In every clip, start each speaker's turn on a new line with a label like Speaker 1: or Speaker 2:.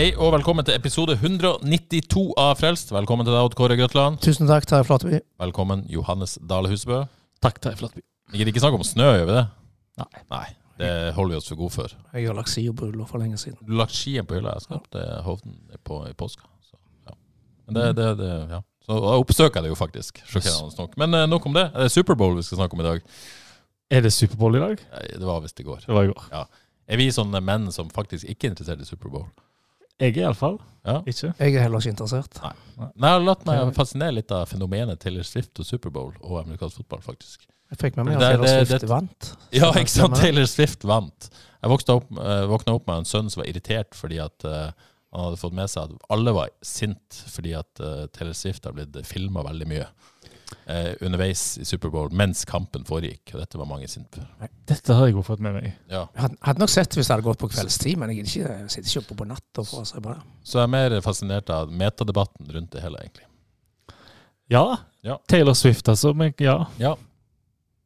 Speaker 1: Hei og velkommen til episode 192 av Frelst. Velkommen til deg, Odd Kåre Grøtland.
Speaker 2: Tusen takk, Tarjei Flateby.
Speaker 1: Velkommen, Johannes Dale Husbø.
Speaker 2: Takk, Tarjei Flateby.
Speaker 1: Vi gidder ikke snakke om snø, gjør vi det?
Speaker 2: Nei.
Speaker 1: Nei, det holder vi oss for gode for.
Speaker 2: Jeg har lagt sida på rulla for lenge siden.
Speaker 1: Du har lagt skien på hylla. Jeg skapte Hovden på, i påska. Så, ja. Men det, det, det, ja. så da oppsøker jeg det jo faktisk. Sjokkerende nok. Men eh, nok om det. Er det Superbowl vi skal snakke om i dag?
Speaker 3: Er det Superbowl i dag?
Speaker 1: Nei, Det var visst i går.
Speaker 3: Det var i går.
Speaker 1: Er vi sånne menn som faktisk ikke er interessert i Superbowl?
Speaker 3: Jeg er iallfall
Speaker 1: Ja.
Speaker 3: ikke.
Speaker 2: Jeg er heller ikke interessert.
Speaker 1: Nei, jeg har latt meg fascinere litt av fenomenet Taylor Swift og Superbowl og amerikansk fotball, faktisk.
Speaker 2: Jeg fikk med meg
Speaker 1: Det-
Speaker 2: at Taylor
Speaker 1: det-
Speaker 2: Swift
Speaker 1: det-
Speaker 2: vant.
Speaker 1: Ja, ikke sant?
Speaker 2: Stemmer det?
Speaker 1: Taylor Swift vant. Jeg vokste opp, eh, våkna opp med en sønn som var irritert fordi at eh, han hadde fått med seg at alle var sint fordi at eh, Taylor Swift har blitt filma veldig mye eh, underveis i Superbowl mens kampen foregikk. Og dette var mange sinte for.
Speaker 3: Dette har jeg jo fått med meg.
Speaker 1: Ja.
Speaker 2: Jeg hadde- hadde nok sett det hvis det hadde gått på kveldstid, men jeg, gidder ikke, jeg sitter ikke oppe på natta for å se på det.
Speaker 1: Så jeg er mer fascinert av metadebatten rundt det hele, egentlig.
Speaker 3: Ja.
Speaker 1: Ja.
Speaker 3: Taylor Swift, altså. Men ja,
Speaker 1: Ja.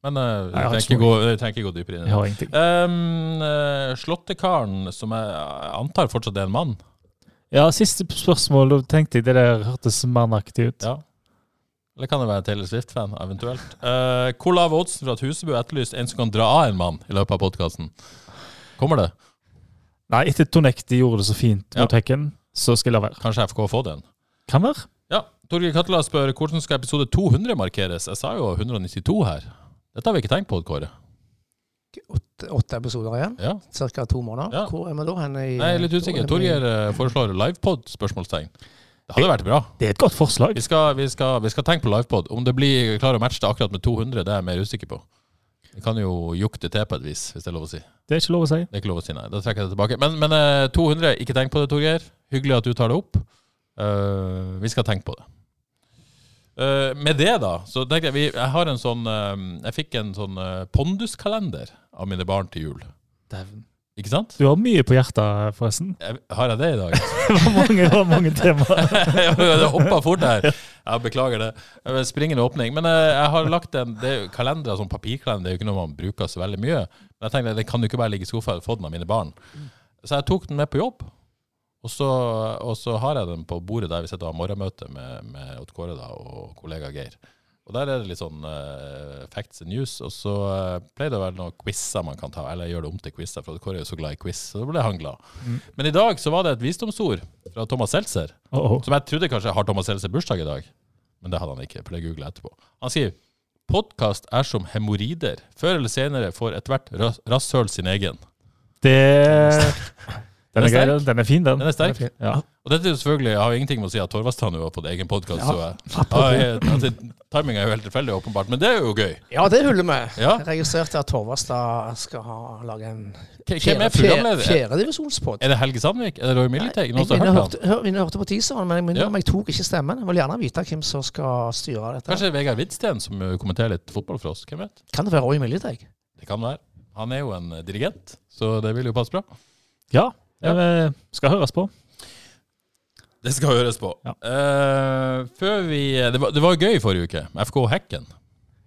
Speaker 1: Men eh,
Speaker 3: Nei, jeg har
Speaker 1: vi trenger
Speaker 3: ikke
Speaker 1: ikke gå- vi trenger ikke gå dypere inn i
Speaker 3: jeg
Speaker 1: det.
Speaker 3: har ingenting.
Speaker 1: Um, eh, Slåttekaren, som jeg antar fortsatt er en mann
Speaker 3: Ja, Siste spørsmål. Da tenkte jeg det der hørtes mannaktig ut.
Speaker 1: Ja. Eller kan det være en Taylor Swift-fan, eventuelt? Eh, Hvor lav oddsen for at Husebø etterlyste en som kan dra av en mann i løpet av podkasten? Kommer det?
Speaker 3: Nei, etter Tonekti gjorde det så fint
Speaker 1: Ja.
Speaker 3: mot Hekken, så skal jeg la være.
Speaker 1: Kanskje FK får den?
Speaker 3: Kan være.
Speaker 1: Ja. Torgeir Katla spør hvordan skal episode 200 markeres? Jeg sa jo 192 her. Dette har vi ikke tenkt på, Kåre.
Speaker 2: Åtte, åtte episoder igjen,
Speaker 1: Ja.
Speaker 2: ca. to måneder.
Speaker 1: Ja.
Speaker 2: Hvor er vi da hen? I,
Speaker 1: Nei, jeg er litt usikker. Torgeir eh, foreslår livepod? Spørsmålstegn. Det hadde vært bra.
Speaker 3: Det er et godt forslag.
Speaker 1: Vi skal, vi skal, vi skal tenke på livepod. Om det blir klarer å matche det akkurat med 200, det er jeg mer usikker på. Vi kan jo jukte til på et vis, hvis det er lov å si.
Speaker 3: Det er ikke lov å si.
Speaker 1: Det er ikke lov å si nei. Da trekker jeg det tilbake. Men, men eh, 200, ikke tenk på det, Torgeir. Hyggelig at du tar det opp. Eh, vi skal tenke på det. Eh, med det, da, så tenkte jeg vi, Jeg har en sånn eh, Jeg fikk en sånn eh, ponduskalender av mine barn til jul. Ikke sant?
Speaker 3: Du har mye på hjertet, forresten.
Speaker 1: Jeg, har jeg det i dag?
Speaker 3: Det var mange, det var mange temaer.
Speaker 1: det hoppa fort her. Jeg beklager det. Det var en Springende åpning. Men eh, jeg har lagt en det er jo kalendere som papirkalender. Det er jo ikke noe man bruker så veldig mye. Men jeg tenkte det kan jo ikke bare ligge i sofaen. Jeg har fått den av mine barn. Så jeg tok den med på jobb. Og så, og så har jeg den på bordet der vi sitter og har morgenmøte med, med Odd Kåre da, og kollega Geir. Og der er det litt sånn eh, facts and news. Og så eh, pleier det å være noen quizer man kan ta, eller gjør det om til quizer, for Odd Kåre er jo så glad i quiz. Så da ble han glad. Men i dag så var det et visdomsord fra Thomas Seltzer.
Speaker 3: Oh, oh.
Speaker 1: Som jeg trodde kanskje har Thomas Seltzer bursdag i dag, men det hadde han ikke, for det googlet jeg etterpå. Han sier podkast er som hemoroider. Før eller senere får ethvert ras- rasshøl sin egen.
Speaker 3: Det Den
Speaker 1: Den er
Speaker 3: er grei,
Speaker 1: sterk.
Speaker 3: den. Den er fin, den.
Speaker 1: Den er sterk.
Speaker 3: Ja.
Speaker 1: Og dette er jo selvfølgelig, jeg har jo ingenting med å si at Torvastrand nå har fått egen podkast. Ja.
Speaker 2: apropos.
Speaker 1: Altså, Timinga er jo helt tilfeldig, åpenbart, men det er jo gøy.
Speaker 2: Ja, det huller vi.
Speaker 1: Ja.
Speaker 2: Jeg registrerte at Torvastad skal ha lage en
Speaker 1: K- Hvem
Speaker 2: fjerde-
Speaker 1: er programleder?
Speaker 2: fjerde- fjerdedivisjonspod.
Speaker 1: Er det Helge Sandvik? Er det Roy Militeg? Noen som har
Speaker 2: jeg minner
Speaker 1: hørt han?
Speaker 2: hørte, hør, minner hørte på teaseren, men jeg minner
Speaker 1: Ja.
Speaker 2: om jeg tok ikke stemmen. Jeg vil gjerne vite hvem som skal styre dette.
Speaker 1: Kanskje det er Vegard Hvidsten som uh, kommenterer litt fotball for oss? Hvem vet?
Speaker 2: Kan det være Roy Militeg?
Speaker 1: Det kan være. Han er jo en uh, dirigent, så det vil jo passe bra.
Speaker 3: ja. Eh, Skal høres på.
Speaker 1: Det skal høres på.
Speaker 3: Ja.
Speaker 1: Eh, før vi Det var, det var gøy forrige uke. FK Hekken.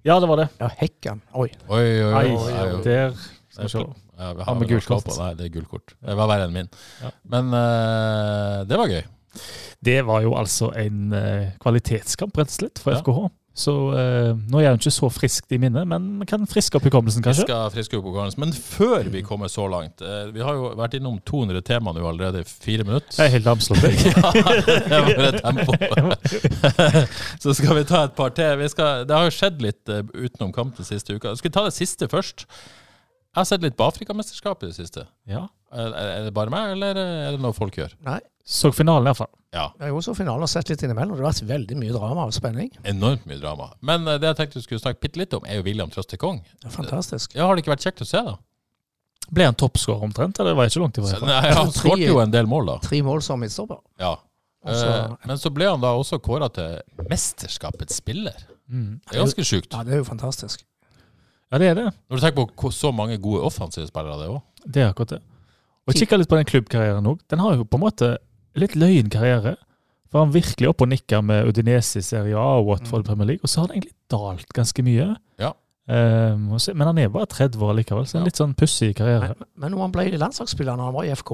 Speaker 3: Ja, det var det.
Speaker 2: Ja, Hekkan. Oi.
Speaker 1: Oi, oi, oi.
Speaker 3: Nei,
Speaker 1: Nei, jo.
Speaker 3: der
Speaker 1: Jeg
Speaker 3: skal vi se.
Speaker 1: Ja, vi
Speaker 3: Ja,
Speaker 1: har
Speaker 3: med
Speaker 1: vel
Speaker 3: gult
Speaker 1: slå
Speaker 3: kort.
Speaker 1: på. Nei, det er gult kort. Det var verre enn min.
Speaker 3: Ja.
Speaker 1: Men eh, det var gøy.
Speaker 3: Det var jo altså en eh, kvalitetskamp, rett og slett, for
Speaker 1: Ja.
Speaker 3: FKH. Så eh, nå er han ikke så friskt i minnet, men kan friske opp hukommelsen,
Speaker 1: Vi
Speaker 3: kanskje.
Speaker 1: skal friske opp konkurransen. Men før vi kommer så langt eh, Vi har jo vært innom 200 tema nå allerede i fire minutter.
Speaker 3: Jeg er helt lamslått. jeg.
Speaker 1: Ja, det var det tempoet. Så skal vi ta et par til. Vi skal, det har jo skjedd litt eh, utenom kamp den siste uka. Skal vi ta det siste først? Jeg har sett litt på Afrikamesterskapet i det siste.
Speaker 3: Ja.
Speaker 1: Er er det bare meg, eller er det noe folk gjør?
Speaker 2: Nei.
Speaker 3: Så finalen, iallfall.
Speaker 1: Ja,
Speaker 2: Jeg har jo også finalen og sett litt innimellom. Det har vært veldig mye drama og spenning.
Speaker 1: enormt mye drama. Men eh, det jeg tenkte vi skulle snakke bitte litt om, er jo William Trøstekong.
Speaker 2: Det er fantastisk.
Speaker 1: Ja, har det ikke vært kjekt å se, da?
Speaker 3: Ble han toppscorer omtrent? Eller var jeg ikke langt ifra?
Speaker 1: Så, nei, han skåret jo en del mål, da.
Speaker 2: Tre mål som midtstopper.
Speaker 1: Ja. Eh,
Speaker 2: Altså-
Speaker 1: Men så ble han da også kåra til mesterskapets spiller.
Speaker 3: Mm.
Speaker 1: Det er ganske sjukt.
Speaker 2: Ja, det er jo fantastisk.
Speaker 3: Ja, det er det.
Speaker 1: Når du tenker på hvor- så mange gode offensive spillere det er òg.
Speaker 3: Det er akkurat det. Og kikka litt på den klubbkarrieren òg. Den har jo på en måte litt løyen karriere. For han virkelig opp og nikker med Udinese i Serie A og Watford i Premier League. Og så har han egentlig dalt ganske mye.
Speaker 1: Mm. Ja.
Speaker 3: Ehm, og så, men han er bare 30 år likevel, så en
Speaker 1: Ja.
Speaker 3: litt sånn pussig karriere.
Speaker 2: Men, men når han ble landslagsspiller når han var i FK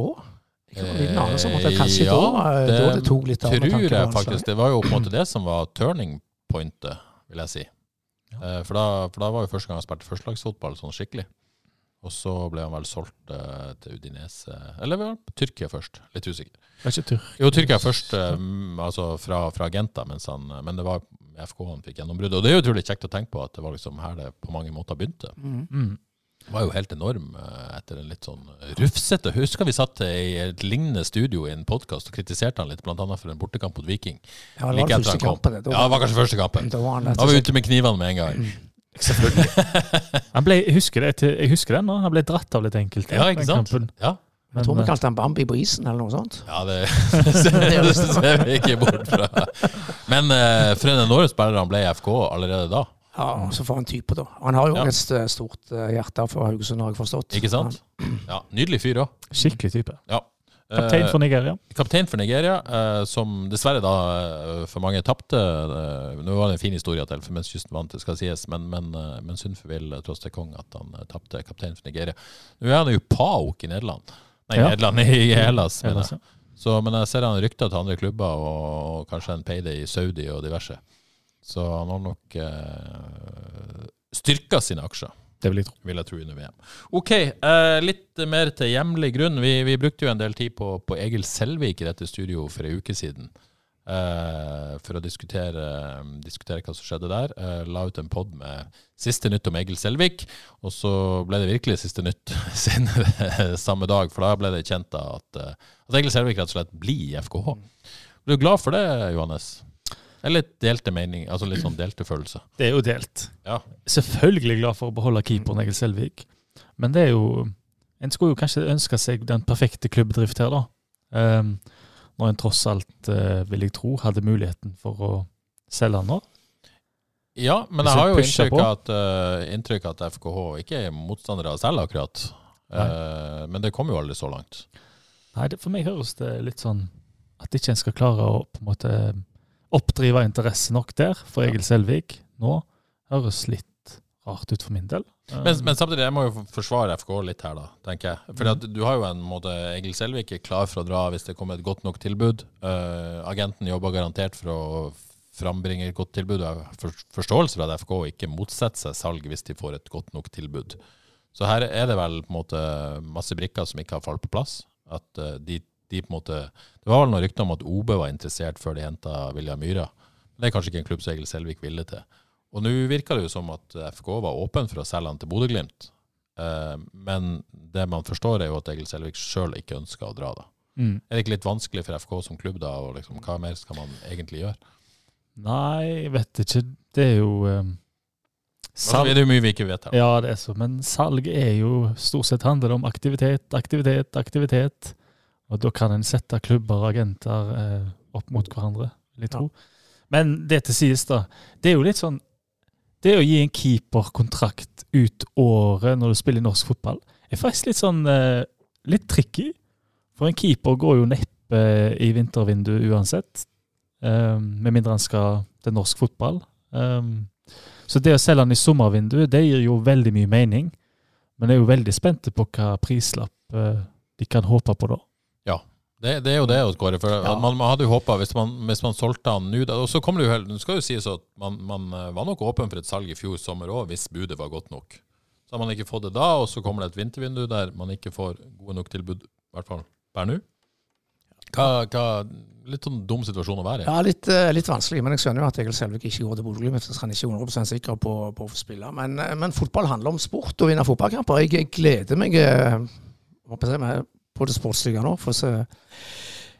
Speaker 2: Ikke noen liten anelse om at det kanskje
Speaker 1: Eh,
Speaker 2: da, eh, da det tok litt av med
Speaker 1: tror
Speaker 2: tanke på
Speaker 1: jeg
Speaker 2: landslaget.
Speaker 1: faktisk. Det var jo på en måte det som var turning pointet, vil jeg si. Eh, For, da, for da var jo første gang han spilte førstelagsfotball sånn skikkelig. Og så ble han vel solgt eh, til Udinese Eller var det Tyrkia først? Litt usikker.
Speaker 3: Det er ikke tur.
Speaker 1: Jo, Tyrkia først, eh, mm, altså fra, fra Genta, mens han, men det var FK han fikk gjennombruddet. Og det er jo utrolig kjekt å tenke på at det var liksom her det på mange måter begynte.
Speaker 3: Mm.
Speaker 1: Det var jo helt enorm eh, etter en litt sånn rufsete Husker vi satt i et lignende studio i en podkast og kritiserte han litt, blant annet for en bortekamp mot Viking.
Speaker 2: Ja, det var
Speaker 1: Like
Speaker 2: den
Speaker 1: etter han
Speaker 2: første
Speaker 1: kom.
Speaker 2: kampen. det. Da,
Speaker 1: Ja, det var Mm. kanskje første kampen.
Speaker 2: da var han
Speaker 1: Da
Speaker 2: rett og
Speaker 1: var vi
Speaker 2: slett
Speaker 1: ute med knivene med en gang.
Speaker 3: Han ble, jeg, husker det, jeg husker den nå. Han ble dratt av litt enkelte.
Speaker 1: Ja, ikke sant?
Speaker 3: den kampen.
Speaker 1: Ja,
Speaker 2: Jeg tror vi kalte han Bambi på isen, eller noe sånt.
Speaker 1: ja det, det, ser, det ser vi ikke bort fra. Men eh, for en enorm spiller han ble i FK allerede da.
Speaker 2: Ja, og Så for en type, da. Han har jo
Speaker 1: Ja.
Speaker 2: et st- stort eh, hjerte for Haugesund, har jeg forstått.
Speaker 1: Ikke sant? Ja, Nydelig fyr òg.
Speaker 3: Men, skikkelig type.
Speaker 1: Ja.
Speaker 3: Kaptein
Speaker 1: Eh,
Speaker 3: for Nigeria.
Speaker 1: Kaptein for Nigeria, eh, som dessverre da eh, for mange tapte. eh, Nå var det en fin historie til, for mens kysten vant, det skal sies, men, men, eh, men synd for Will Trostekong Kong at han eh, tapte kaptein for Nigeria. Nå er han jo PAOK i Nederland. Nei,
Speaker 3: Ja.
Speaker 1: Nederland i Hellas. mener
Speaker 3: Hellas,
Speaker 1: jeg. Så, men jeg ser han rykter til andre klubber, og, og kanskje en payday i Saudi og diverse. Så han har nok eh, styrka sine aksjer
Speaker 3: Det vil jeg tro.
Speaker 1: vil jeg tro, under VM. OK, eh, litt mer til hjemlig grunn. Vi, vi brukte jo en del tid på, på Egil Selvik i dette studio for ei uke siden. eh, for å diskutere, diskutere hva som skjedde der. Eh, la ut en pod med siste nytt om Egil Selvik, og så ble det virkelig siste nytt senere samme dag. For da ble det kjent da at, eh, at Egil Selvik rett og slett blir i FKH. Blir du glad for det, Johannes? Det er litt delte mening, altså litt sånn delte følelser.
Speaker 3: Det er jo delt.
Speaker 1: Ja.
Speaker 3: Selvfølgelig glad for å beholde keeperen Egil Selvik, men det er jo En skulle jo kanskje ønske seg den perfekte klubbdrift her, da. Ehm, når en tross alt, eh, vil jeg tro, hadde muligheten for å selge han nå.
Speaker 1: Ja, men
Speaker 3: Hvis
Speaker 1: jeg har
Speaker 3: jeg
Speaker 1: jo
Speaker 3: pusher
Speaker 1: inntrykk av at, eh, inntrykk av at FKH ikke er motstandere av selv akkurat. Eh, men det kom jo aldri så langt.
Speaker 3: Nei, det, for meg høres det litt sånn at ikke en skal klare å på en måte eh, oppdrive interesse nok der for Egil Selvik nå. Høres litt rart ut for min del. Ehm,
Speaker 1: Men, men samtidig, jeg må jo forsvare FKH litt her, da, tenker jeg. For at du har jo en måte Egil Selvik er klar for å dra hvis det kommer et godt nok tilbud. Eh, agenten jobber garantert for å frambringe et godt tilbud. Jeg har for- forståelse for at FK ikke motsetter seg salg hvis de får et godt nok tilbud. Så her er det vel på en måte masse brikker som ikke har falt på plass. At eh, de, de på en måte Det var vel noen rykter om at OB var interessert før de henta Vilja Myhra. Det er kanskje ikke en klubb som Egil Selvik ville til. Og nå virker det jo som at FK var åpen for å selge han til Bodø-Glimt. Eh, Men det man forstår, er jo at Egil Selvik sjøl ikke ønsker å dra, da.
Speaker 3: mm.
Speaker 1: Er det ikke litt vanskelig for FK som klubb, da? Og liksom, hva mer skal man egentlig gjøre?
Speaker 3: Nei, jeg vet ikke. Det er jo ehm,
Speaker 1: Altså, det er jo mye vi ikke vet her.
Speaker 3: Ja, det er så. Men salg er jo stort sett handler det om aktivitet, aktivitet, aktivitet. Og da kan en sette klubber og agenter eh, opp mot hverandre, vil jeg tro. Men det til sies, da. Det er jo litt sånn Det å gi en keeper kontrakt ut året når du spiller i norsk fotball, er faktisk litt sånn eh, litt tricky. For en keeper går jo neppe i vintervinduet uansett. eh, med mindre han skal til norsk fotball. Eh, så det å selge den i sommervinduet, det gir jo veldig mye mening. Men jeg er jo veldig spente på hva prislapp eh, de kan håpe på da.
Speaker 1: Det, det er jo det, Odd Kåre. For
Speaker 2: Ja.
Speaker 1: man, man hadde jo håpa, hvis, man- hvis man solgte han nå da- Og så kommer det jo helt Det skal jo sies at man, man eh, var nok åpen for et salg i fjor sommer òg, hvis budet var godt nok. Så har man ikke fått det da, og så kommer det et vintervindu der man ikke får gode nok tilbud, i hvert fall per nå. Hva, hva, litt sånn dum situasjon å være i.
Speaker 2: Ja, litt, eh, litt vanskelig, men jeg skjønner jo at Egil Selvik ikke går til Bodø-Glimt hvis han ikke er 100 sikker på, på å få spille. Men, eh, men fotball handler om sport og vinne fotballkamper. Jeg, jeg gleder meg eh, hva skal jeg si, meg på det sportslige nå. for å se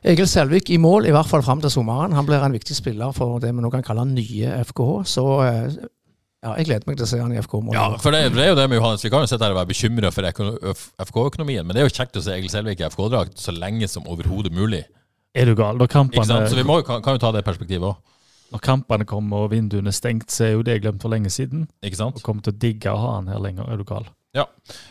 Speaker 2: Egil Selvik i mål, i hvert fall fram til sommeren. Han blir en viktig spiller for det vi nå kan kalle nye FKH. Så eh, ja, jeg gleder meg til å se han i FK-mål.
Speaker 1: Ja, for det, for det er jo det med Johannes. Vi kan jo sitte her og være bekymra for øko- FK-økonomien, men det er jo kjekt å se Egil Selvik i FK-drakt så lenge som overhodet mulig.
Speaker 3: Er du gal? Når
Speaker 1: Ikke sant? Så vi
Speaker 3: kampene,
Speaker 1: må, jo- kan, kan jo ta det perspektivet òg.
Speaker 3: når kampene kommer og vinduene er stengt, så er jo det glemt for lenge siden.
Speaker 1: Ikke sant?
Speaker 3: Og kommer til å digge å ha han her lenger. Er du gal?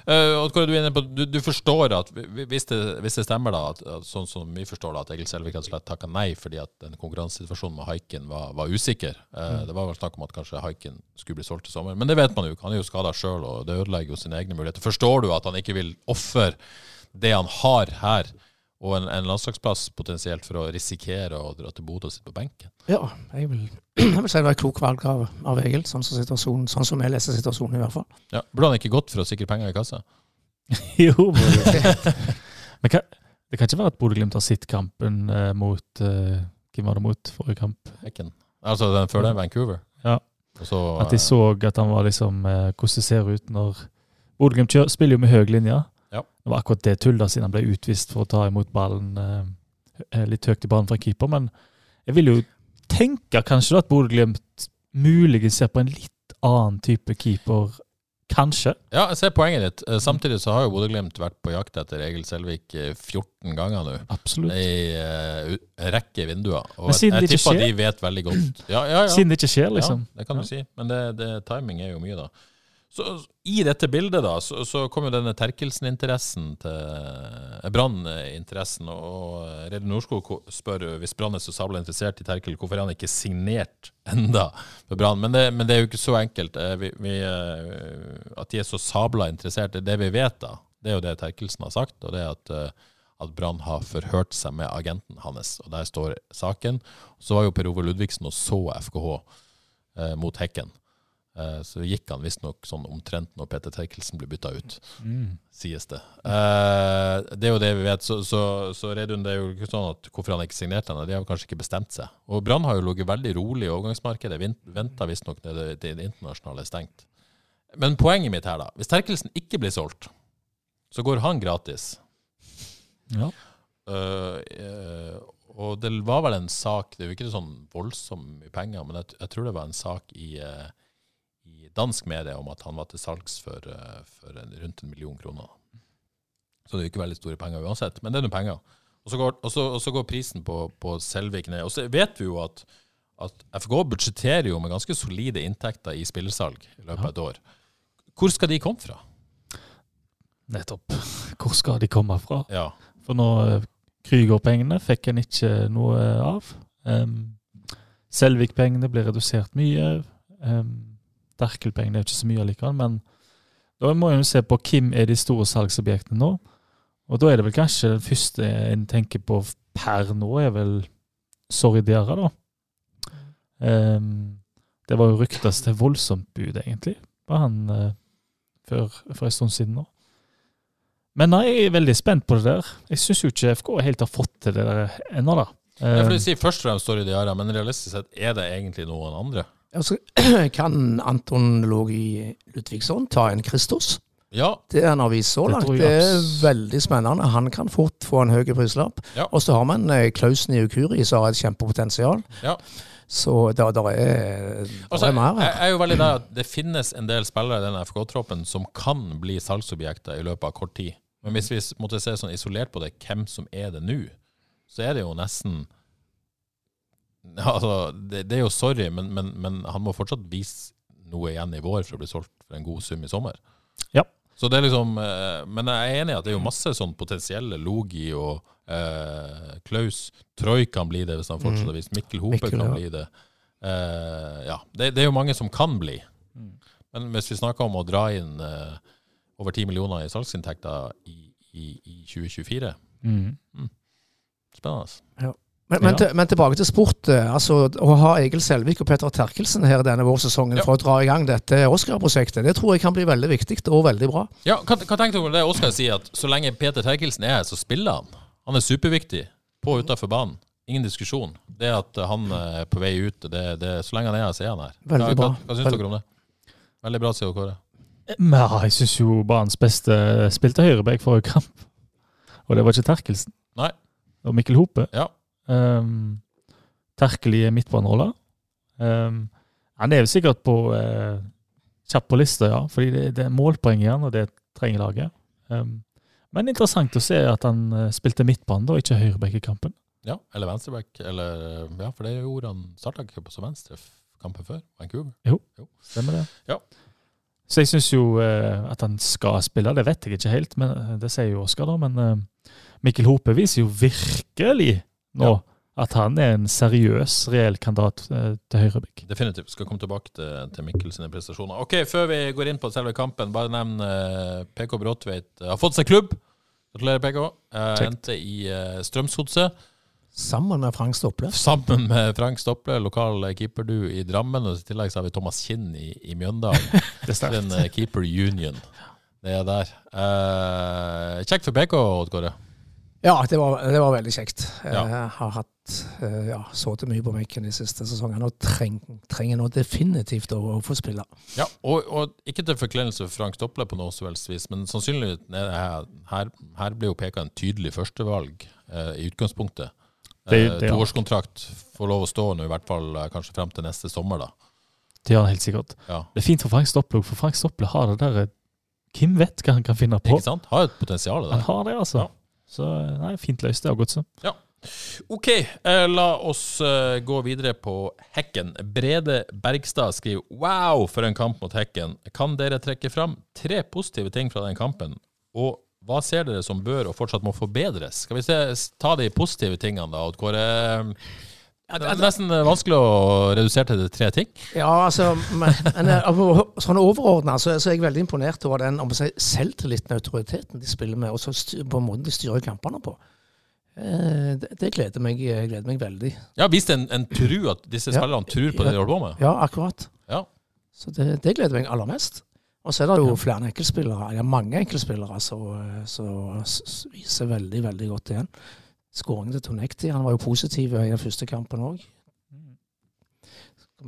Speaker 1: Eh, Odd Kåre, du, er inne på, du, du forstår at hvi- hvis det, hvis det stemmer, da, at, at sånn som vi forstår det, at Egil Selvik rett og slett takka nei fordi at den konkurransesituasjonen med Haiken var, var usikker.
Speaker 3: Mm.
Speaker 1: Eh, Det var vel snakk om at kanskje Haiken skulle bli solgt i sommer, men det vet man jo ikke. Han er jo skada sjøl, og det ødelegger jo sine egne muligheter. Forstår du at han ikke vil ofre det han har her, og en, en landslagsplass potensielt, for å risikere å dra til Bodø og sitte på benken?
Speaker 2: Ja, jeg vil, jeg vil si det var et klokt valg av, av Egil, sånn som, situasjonen- sånn som jeg leser situasjonen i hvert fall.
Speaker 1: Ja. Burde han ikke gått for å sikre penger i kassa?
Speaker 3: jo. Men hva, det kan ikke være at Bodø-Glimt har sett kampen eh, mot eh, Hvem var det mot forrige kamp?
Speaker 1: Haiken. Altså den før den, Vancouver.
Speaker 3: Mm. Ja.
Speaker 1: Og så,
Speaker 3: At de så at han var liksom eh, Hvordan det ser ut når Bodø-Glimt kjører- spiller jo med høy linje.
Speaker 1: Ja.
Speaker 3: Det var akkurat det tullet siden han ble utvist for å ta imot ballen eh, eh, litt høyt i banen fra keeper. Men jeg vil jo tenke kanskje da at Bodø-Glimt muligens ser på en litt annen type keeper, kanskje.
Speaker 1: Ja, jeg ser poenget ditt. Eh, Samtidig så har jo Bodø-Glimt vært på jakt etter Egil Selvik eh, 14 ganger nå.
Speaker 3: Absolutt.
Speaker 1: I eh, u- en rekke vinduer. Og
Speaker 3: Men siden
Speaker 1: jeg,
Speaker 3: det ikke
Speaker 1: jeg tipper
Speaker 3: skjer-
Speaker 1: de vet veldig godt. Ja, ja, ja.
Speaker 3: Siden det ikke skjer, liksom.
Speaker 1: Ja, det kan
Speaker 3: Ja.
Speaker 1: du si. Men det, det, timing er jo mye, da. Så I dette bildet da, så, så kom jo denne Terkelsen-interessen til eh, Brann-interessen. Og Reidun Norskog ko- spør jo, hvis Brann er så sabla interessert i Terkel, hvorfor er han ikke signert enda for Brann? Men, det- men det er jo ikke så enkelt. Eh, Vi, vi, eh, at de er så sabla interessert, det er det vi vet, da. Det er jo det Terkelsen har sagt, og det er at eh, at Brann har forhørt seg med agenten hans, og der står saken. Så var jo Per Ove Ludvigsen og så FKH eh, mot hekken. Eh, så gikk han visstnok sånn omtrent når Peter Terkelsen ble bytta ut, sies det. Eh, det er jo det vi vet. Så, så, så Reidun, det er jo ikke sånn at hvorfor han ikke signerte henne, de har jo kanskje ikke bestemt seg. Og Brann har jo ligget veldig rolig i overgangsmarkedet, venta visstnok til det, det internasjonale er stengt. Men poenget mitt her, da. Hvis Terkelsen ikke blir solgt, så går han gratis.
Speaker 3: Ja.
Speaker 1: Eh, eh, og det var vel en sak Det er jo ikke sånn voldsomt mye penger, men jeg, t- jeg tror det var en sak i, eh, i dansk medie om at han var til salgs for, eh, for en, rundt en million kroner. Så det er jo ikke veldig store penger uansett, men det er nå penger. Og så, går, og, så, og så går prisen på, på Selvik ned. Og så vet vi jo at, at FK budsjetterer jo med ganske solide inntekter i spillersalg i løpet av et år. Hvor skal de komme fra?
Speaker 3: Nettopp. Hvor skal de komme fra?
Speaker 1: Ja.
Speaker 3: For nå eh, Krüger-pengene fikk en ikke noe eh, av. Em, Selvik-pengene ble redusert mye. Em, Derkel-pengene er jo ikke så mye allikevel, men da må en jo se på hvem er de store salgsobjektene nå. Og da er det vel kanskje den første en tenker på f- per nå, er vel Sorry Diarra, da. Em, det var jo ryktes til voldsomt bud, egentlig, på han eh, før, for en stund siden nå. Men nei, jeg er veldig spent på det der. Jeg syns jo ikke FK helt har fått til det der ennå, da.
Speaker 1: Jeg
Speaker 3: Eh,
Speaker 1: vil si først og fremst står det i diaret, men realistisk sett er det egentlig noen andre.
Speaker 2: Altså, kan Anton Logi Ludvigsson ta en Kristus?
Speaker 1: Ja,
Speaker 2: Det han har vist så
Speaker 3: Det
Speaker 2: langt,
Speaker 3: tror jeg
Speaker 2: det er
Speaker 3: abs-
Speaker 2: veldig spennende. Han kan fort få en høy prislapp.
Speaker 1: Ja.
Speaker 2: Og så har man eh, Klausen i Ukuri, som har et kjempepotensial.
Speaker 1: Ja.
Speaker 2: Så det er,
Speaker 1: Altså,
Speaker 2: der er mer.
Speaker 1: jeg, jeg er jo veldig der at det finnes en del spillere i denne FK-troppen som kan bli salgsobjekter i løpet av kort tid. Men hvis vi s- måtte se sånn isolert på det, hvem som er det nå, så er det jo nesten Altså, det, det er jo sorry, men, men, men han må fortsatt vise noe igjen i vår for å bli solgt for en god sum i sommer.
Speaker 3: Ja.
Speaker 1: Så det er liksom eh, Men jeg er enig i at det er jo masse sånn potensielle Logi og eh, Klaus Troy kan bli det hvis han fortsetter å vise. Mikkel Hope
Speaker 2: Mikkel,
Speaker 1: kan
Speaker 2: ja.
Speaker 1: bli det. Eh, ja. Det, det er jo mange som kan bli.
Speaker 3: mm.
Speaker 1: Men hvis vi snakker om å dra inn eh, over 10 millioner i salgsinntekter i, i, i 2024
Speaker 3: mm.
Speaker 1: Spennende. ass.
Speaker 2: Men, men,
Speaker 3: Ja.
Speaker 2: til, men tilbake til sport. eh, Altså, å ha Egil Selvik og Petter Terkelsen her denne vårsesongen
Speaker 1: Ja.
Speaker 2: for å dra i gang dette Oscar-prosjektet, det tror jeg kan bli veldig viktig og veldig bra.
Speaker 1: Ja, hva, hva tenkte du om det Oskar sier, at så lenge Peter Terkelsen er her, så spiller han? Han er superviktig. på og utenfor banen. Ingen diskusjon. Det at han eh, er på vei ut, det, det, så lenge han er her, så er han her.
Speaker 2: Veldig
Speaker 1: Hva-
Speaker 2: bra.
Speaker 1: Hva, hva syns dere om det? Veldig bra, sier Kåre.
Speaker 3: Ja, jeg syns jo banens beste spilte høyreback forrige kamp. Og det var ikke Terkelsen.
Speaker 1: Nei.
Speaker 3: Og Mikkel Hope.
Speaker 1: Ja.
Speaker 3: Um, Terkel i midtbanerolla. Um, han er jo sikkert på eh, kjapp på lista, ja. Fordi det, det er målpoeng i han, og det trenger laget. Um, men interessant å se at han eh, spilte midtbane, da, og ikke høyreback i kampen.
Speaker 1: Ja, eller venstreback. Eller, ja, for det gjorde han starta ikke på som venstre f- kampen før. Vancouver.
Speaker 3: Stemmer det?
Speaker 1: Ja.
Speaker 3: Så jeg syns jo eh, at han skal spille, det vet jeg ikke helt, men eh, det sier jo Oskar, da. Men eh, Mikkel Hope viser jo virkelig nå at han er en seriøs, reell kandidat eh, til høyrebekk.
Speaker 1: Definitivt. Skal komme tilbake til, til Mikkel sine prestasjoner. Ok, Før vi går inn på selve kampen, bare nevn eh, PK Bråtveit eh, har fått seg klubb. Gratulerer, PK. Eh,
Speaker 3: Kjekt.
Speaker 1: endte i eh, Strømsgodset.
Speaker 2: Sammen med Frank Stople.
Speaker 1: Sammen med Frank Stople, lokal keeperdu i Drammen. Og i tillegg så har vi Thomas Kinn i, i Mjøndalen.
Speaker 3: Det er
Speaker 1: Den
Speaker 3: sterkt.
Speaker 1: eh, keeper union. Det er der. Eh, kjekt for PK, Odd Kåre.
Speaker 2: Ja, det var, det var veldig kjekt.
Speaker 1: Ja.
Speaker 2: Jeg har hatt eh, ja, sittet mye på benken de siste sesongene og treng, trenger nå definitivt å, å få spille.
Speaker 1: Ja, og, og ikke til forkleinelse for Frank Stople på noe som helst vis, men sannsynligvis er det her, her, her blir jo peka en tydelig førstevalg eh, i utgangspunktet. Eh,
Speaker 3: Det- det er-
Speaker 1: Toårskontrakt får lov å stå nå, i hvert fall eh, kanskje frem til neste sommer, da.
Speaker 3: Det gjør han helt sikkert.
Speaker 1: Ja.
Speaker 3: Det er fint for Frank Stopple, for Frank Stopple har det derre Hvem vet hva han kan finne på?
Speaker 1: Ikke sant? Har jo et potensial
Speaker 3: Han
Speaker 1: der.
Speaker 3: har det, altså.
Speaker 1: Ja.
Speaker 3: Så nei, fint løst, det av godset.
Speaker 1: OK, eh, la oss eh, gå videre på Hekken. Brede Bergstad skriver Wow, for en kamp mot Hekken. Kan dere trekke fram tre positive ting fra den kampen? Og hva ser dere som bør og fortsatt må forbedres? Skal vi se, ta de positive tingene, da, Odd Kåre. Det
Speaker 2: altså-
Speaker 1: er nesten eh, vanskelig å redusere til de tre ting.
Speaker 2: Ja, altså, men, men eh, av- sånn overordna så, så er jeg veldig imponert over den om å si, selvtilliten og autoriteten de spiller med, og så styr, på måten de styrer kampene på. Eh, det det gleder, meg, jeg gleder meg veldig.
Speaker 1: Ja, Vist en, en tru at disse
Speaker 2: Ja.
Speaker 1: spillerne tror på det de holder på med.
Speaker 2: Ja, akkurat.
Speaker 1: Ja.
Speaker 2: Så det, det gleder meg aller mest. Og så er det jo flere enkeltspillere, eller mange enkeltspillere som som s- s- viser veldig, veldig godt igjen. Skåringen til Tonekti, han var jo positiv i den første kampen òg.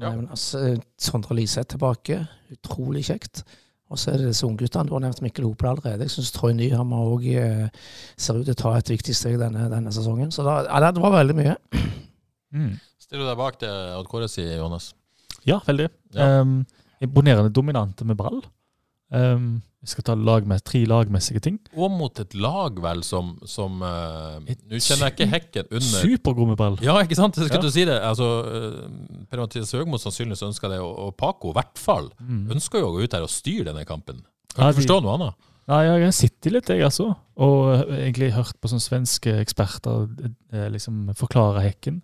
Speaker 1: Ja.
Speaker 2: altså, Sondre Liseth tilbake, utrolig kjekt. Og så er det disse ungguttene. Du har nevnt Mikkel Hopel allerede. Jeg syns Troy Nyhammer òg ser ut til å ta et viktig steg denne, denne sesongen. Så da, ja, det var veldig mye.
Speaker 3: Mm.
Speaker 1: Stiller du deg bak det Odd Kåre sier, Johannes?
Speaker 3: Ja, veldig.
Speaker 1: Ja.
Speaker 3: Ehm, imponerende dominante med ball. Ehm, vi skal ta lagmes- tre lagmessige ting.
Speaker 1: Og mot et lag, vel, som, som eh, Nå kjenner jeg ikke Hekken under
Speaker 3: Supergod med ball.
Speaker 1: Ja, ikke sant? Jeg
Speaker 3: Ja.
Speaker 1: skulle til å si det. Altså, eh, Per Mathias Høgmo sannsynligvis ønsker det, og, og Paco i hvert fall
Speaker 3: Mm.
Speaker 1: ønsker jo å gå ut der og styre denne kampen.
Speaker 3: Ja,
Speaker 1: Kan ikke
Speaker 3: de-
Speaker 1: forstå noe annet.
Speaker 3: Nei, jeg har sittet litt, jeg altså. Og eh, egentlig hørt på sånne svenske eksperter eh, liksom forklare hekken.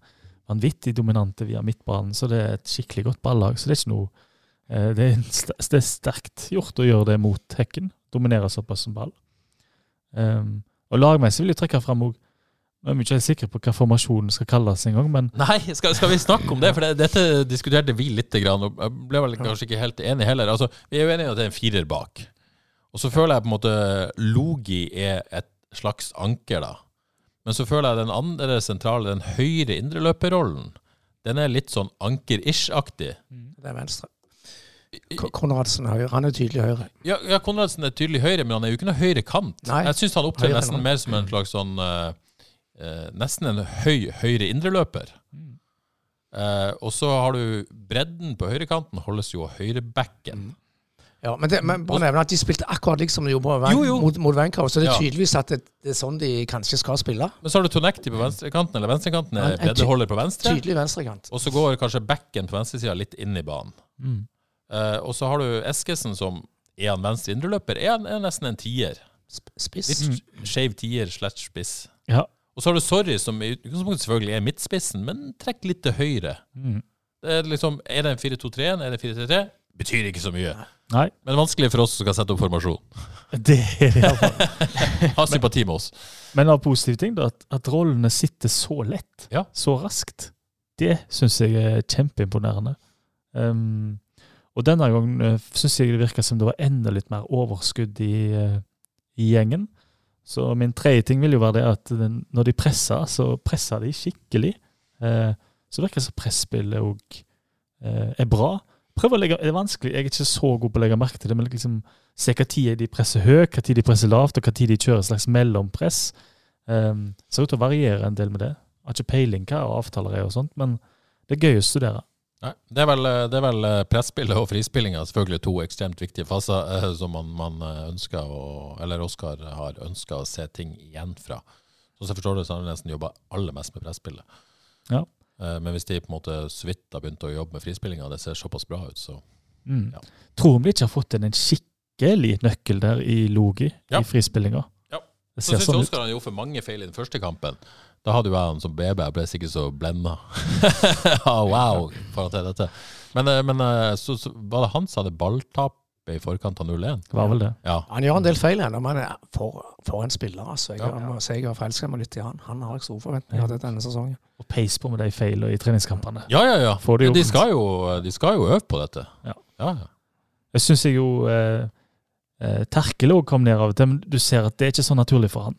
Speaker 3: Vanvittig dominante via midtbanen, så det er et skikkelig godt ballag. Så det er ikke noe eh, det er, en st- det er sterkt gjort å gjøre det mot hekken. Dominere såpass som ball. Ehm, og lagmessig vil jeg trekke fram òg Nå er vi ikke helt sikre på hva formasjonen skal kalles engang, men
Speaker 1: Nei, skal, skal vi snakke om det? For det, dette diskuterte vi litt, grann, og jeg ble vel kanskje ikke helt enig heller. Altså, vi er jo enige om at det er en firer bak. Og så føler jeg på en måte Logi er et slags anker, da. Men så føler jeg den andre sentrale, den høyre indreløperrollen, den er litt sånn anker-ish-aktig.
Speaker 2: Det er venstre. Ko- Konradsen er høyre. Han er tydelig høyre.
Speaker 1: Ja, ja, Konradsen er tydelig høyre, men han er jo ikke noe høyre kant.
Speaker 2: Nei.
Speaker 1: Jeg syns han opptrer
Speaker 2: Høyre
Speaker 1: nesten
Speaker 2: kant.
Speaker 1: mer som en slags sånn eh, eh, Nesten en høy høyre indreløper. Eh, og så har du bredden på høyrekanten, holdes jo av høyrebacken.
Speaker 2: Mm. Ja, men, det, men bare nevne at de spilte akkurat liksom de gjorde på Ven-
Speaker 1: Jo, jo.
Speaker 2: mot, mot Vancouver, så det er
Speaker 1: Ja.
Speaker 2: tydeligvis at det, det er sånn de kanskje skal spille.
Speaker 1: Men så har du Tonekti på venstrekanten, eller venstrekanten
Speaker 2: Han
Speaker 1: er
Speaker 2: er
Speaker 1: breddeholder på venstre.
Speaker 2: Tydelig venstrekant.
Speaker 1: Og så går kanskje backen på venstresida litt inn i banen.
Speaker 3: Mm.
Speaker 1: Eh, og så har du Eskesen som er han venstre indreløper? Er han er nesten en tier?
Speaker 2: Sp- Spiss.
Speaker 1: Litt mm. skeiv tier slash spiss.
Speaker 3: Mm. Ja.
Speaker 1: Og så har du Sorry, som i utgangspunktet selvfølgelig er midtspissen, men trekk litt til høyre.
Speaker 3: Mm.
Speaker 1: Det er, liksom, er det en 4-2-3-1? Er det 4-3-3? Betyr ikke så mye.
Speaker 3: Nei,
Speaker 1: Men vanskelig for oss som skal sette opp formasjon.
Speaker 3: det er det iallfall.
Speaker 1: Ha sympati med oss.
Speaker 3: Men av positive ting, da, at, at rollene sitter så lett,
Speaker 1: Ja.
Speaker 3: så raskt, det syns jeg er kjempeimponerende. Ehm, og denne gangen syns jeg det virka som det var enda litt mer overskudd eh, i, eh, i gjengen. Så min tredje ting vil jo være det at den, når de presser, så presser de skikkelig. Eh, så virker det som presspillet òg eh, er bra. Prøv å legge, Det er vanskelig, jeg er ikke så god på å legge merke til det, men liksom se hva tid de presser høyt, hva tid de presser lavt, og hva tid de kjører et slags mellompress. Eh, ser ut til å variere en del med det. Har ikke peiling hva avtaler er og sånt, men det er gøy å studere.
Speaker 1: Nei, det er vel, det er vel eh, presspillet og frispillinga selvfølgelig to ekstremt viktige faser eh, som man, man ønsker å Eller Oskar har ønska å se ting igjen fra. Så som jeg forstår det, så har han nesten jobba aller mest med presspillet.
Speaker 3: Ja.
Speaker 1: Eh, Men hvis de på en måte så vidt har begynt å jobbe med frispillinga, det ser såpass bra ut, så
Speaker 3: Mm.
Speaker 1: Ja.
Speaker 3: Tror om de ikke har fått inn en skikkelig nøkkel der i Logi,
Speaker 1: Ja.
Speaker 3: i frispillinga.
Speaker 1: Ja.
Speaker 3: Det
Speaker 1: Så
Speaker 3: ser
Speaker 1: syns
Speaker 3: sånn ut.
Speaker 1: Oskar han gjorde for mange feil i den første kampen. Da hadde jo jeg han som BB, jeg ble sikkert så blenda. Ah, wow, for at det er dette. Men, eh, men eh, så, så var det han som hadde balltapet i forkant av 0-1.
Speaker 3: Det var vel det.
Speaker 1: Ja.
Speaker 2: Han gjør en del feil ennå, men er for, for en spiller, altså. Jeg
Speaker 1: Ja.
Speaker 2: må si jeg har forelska meg litt i han. Han har jeg store forventninger til denne sesongen.
Speaker 3: Og peis på med de feilene i treningskampene.
Speaker 1: Ja, ja, ja.
Speaker 3: Får det
Speaker 1: Men
Speaker 3: jo-
Speaker 1: de, skal jo, de skal jo øve på dette.
Speaker 3: Ja.
Speaker 1: ja.
Speaker 3: Jeg syns jeg jo eh, eh, Terkel òg kom ned av og til, men du ser at det er ikke så naturlig for han.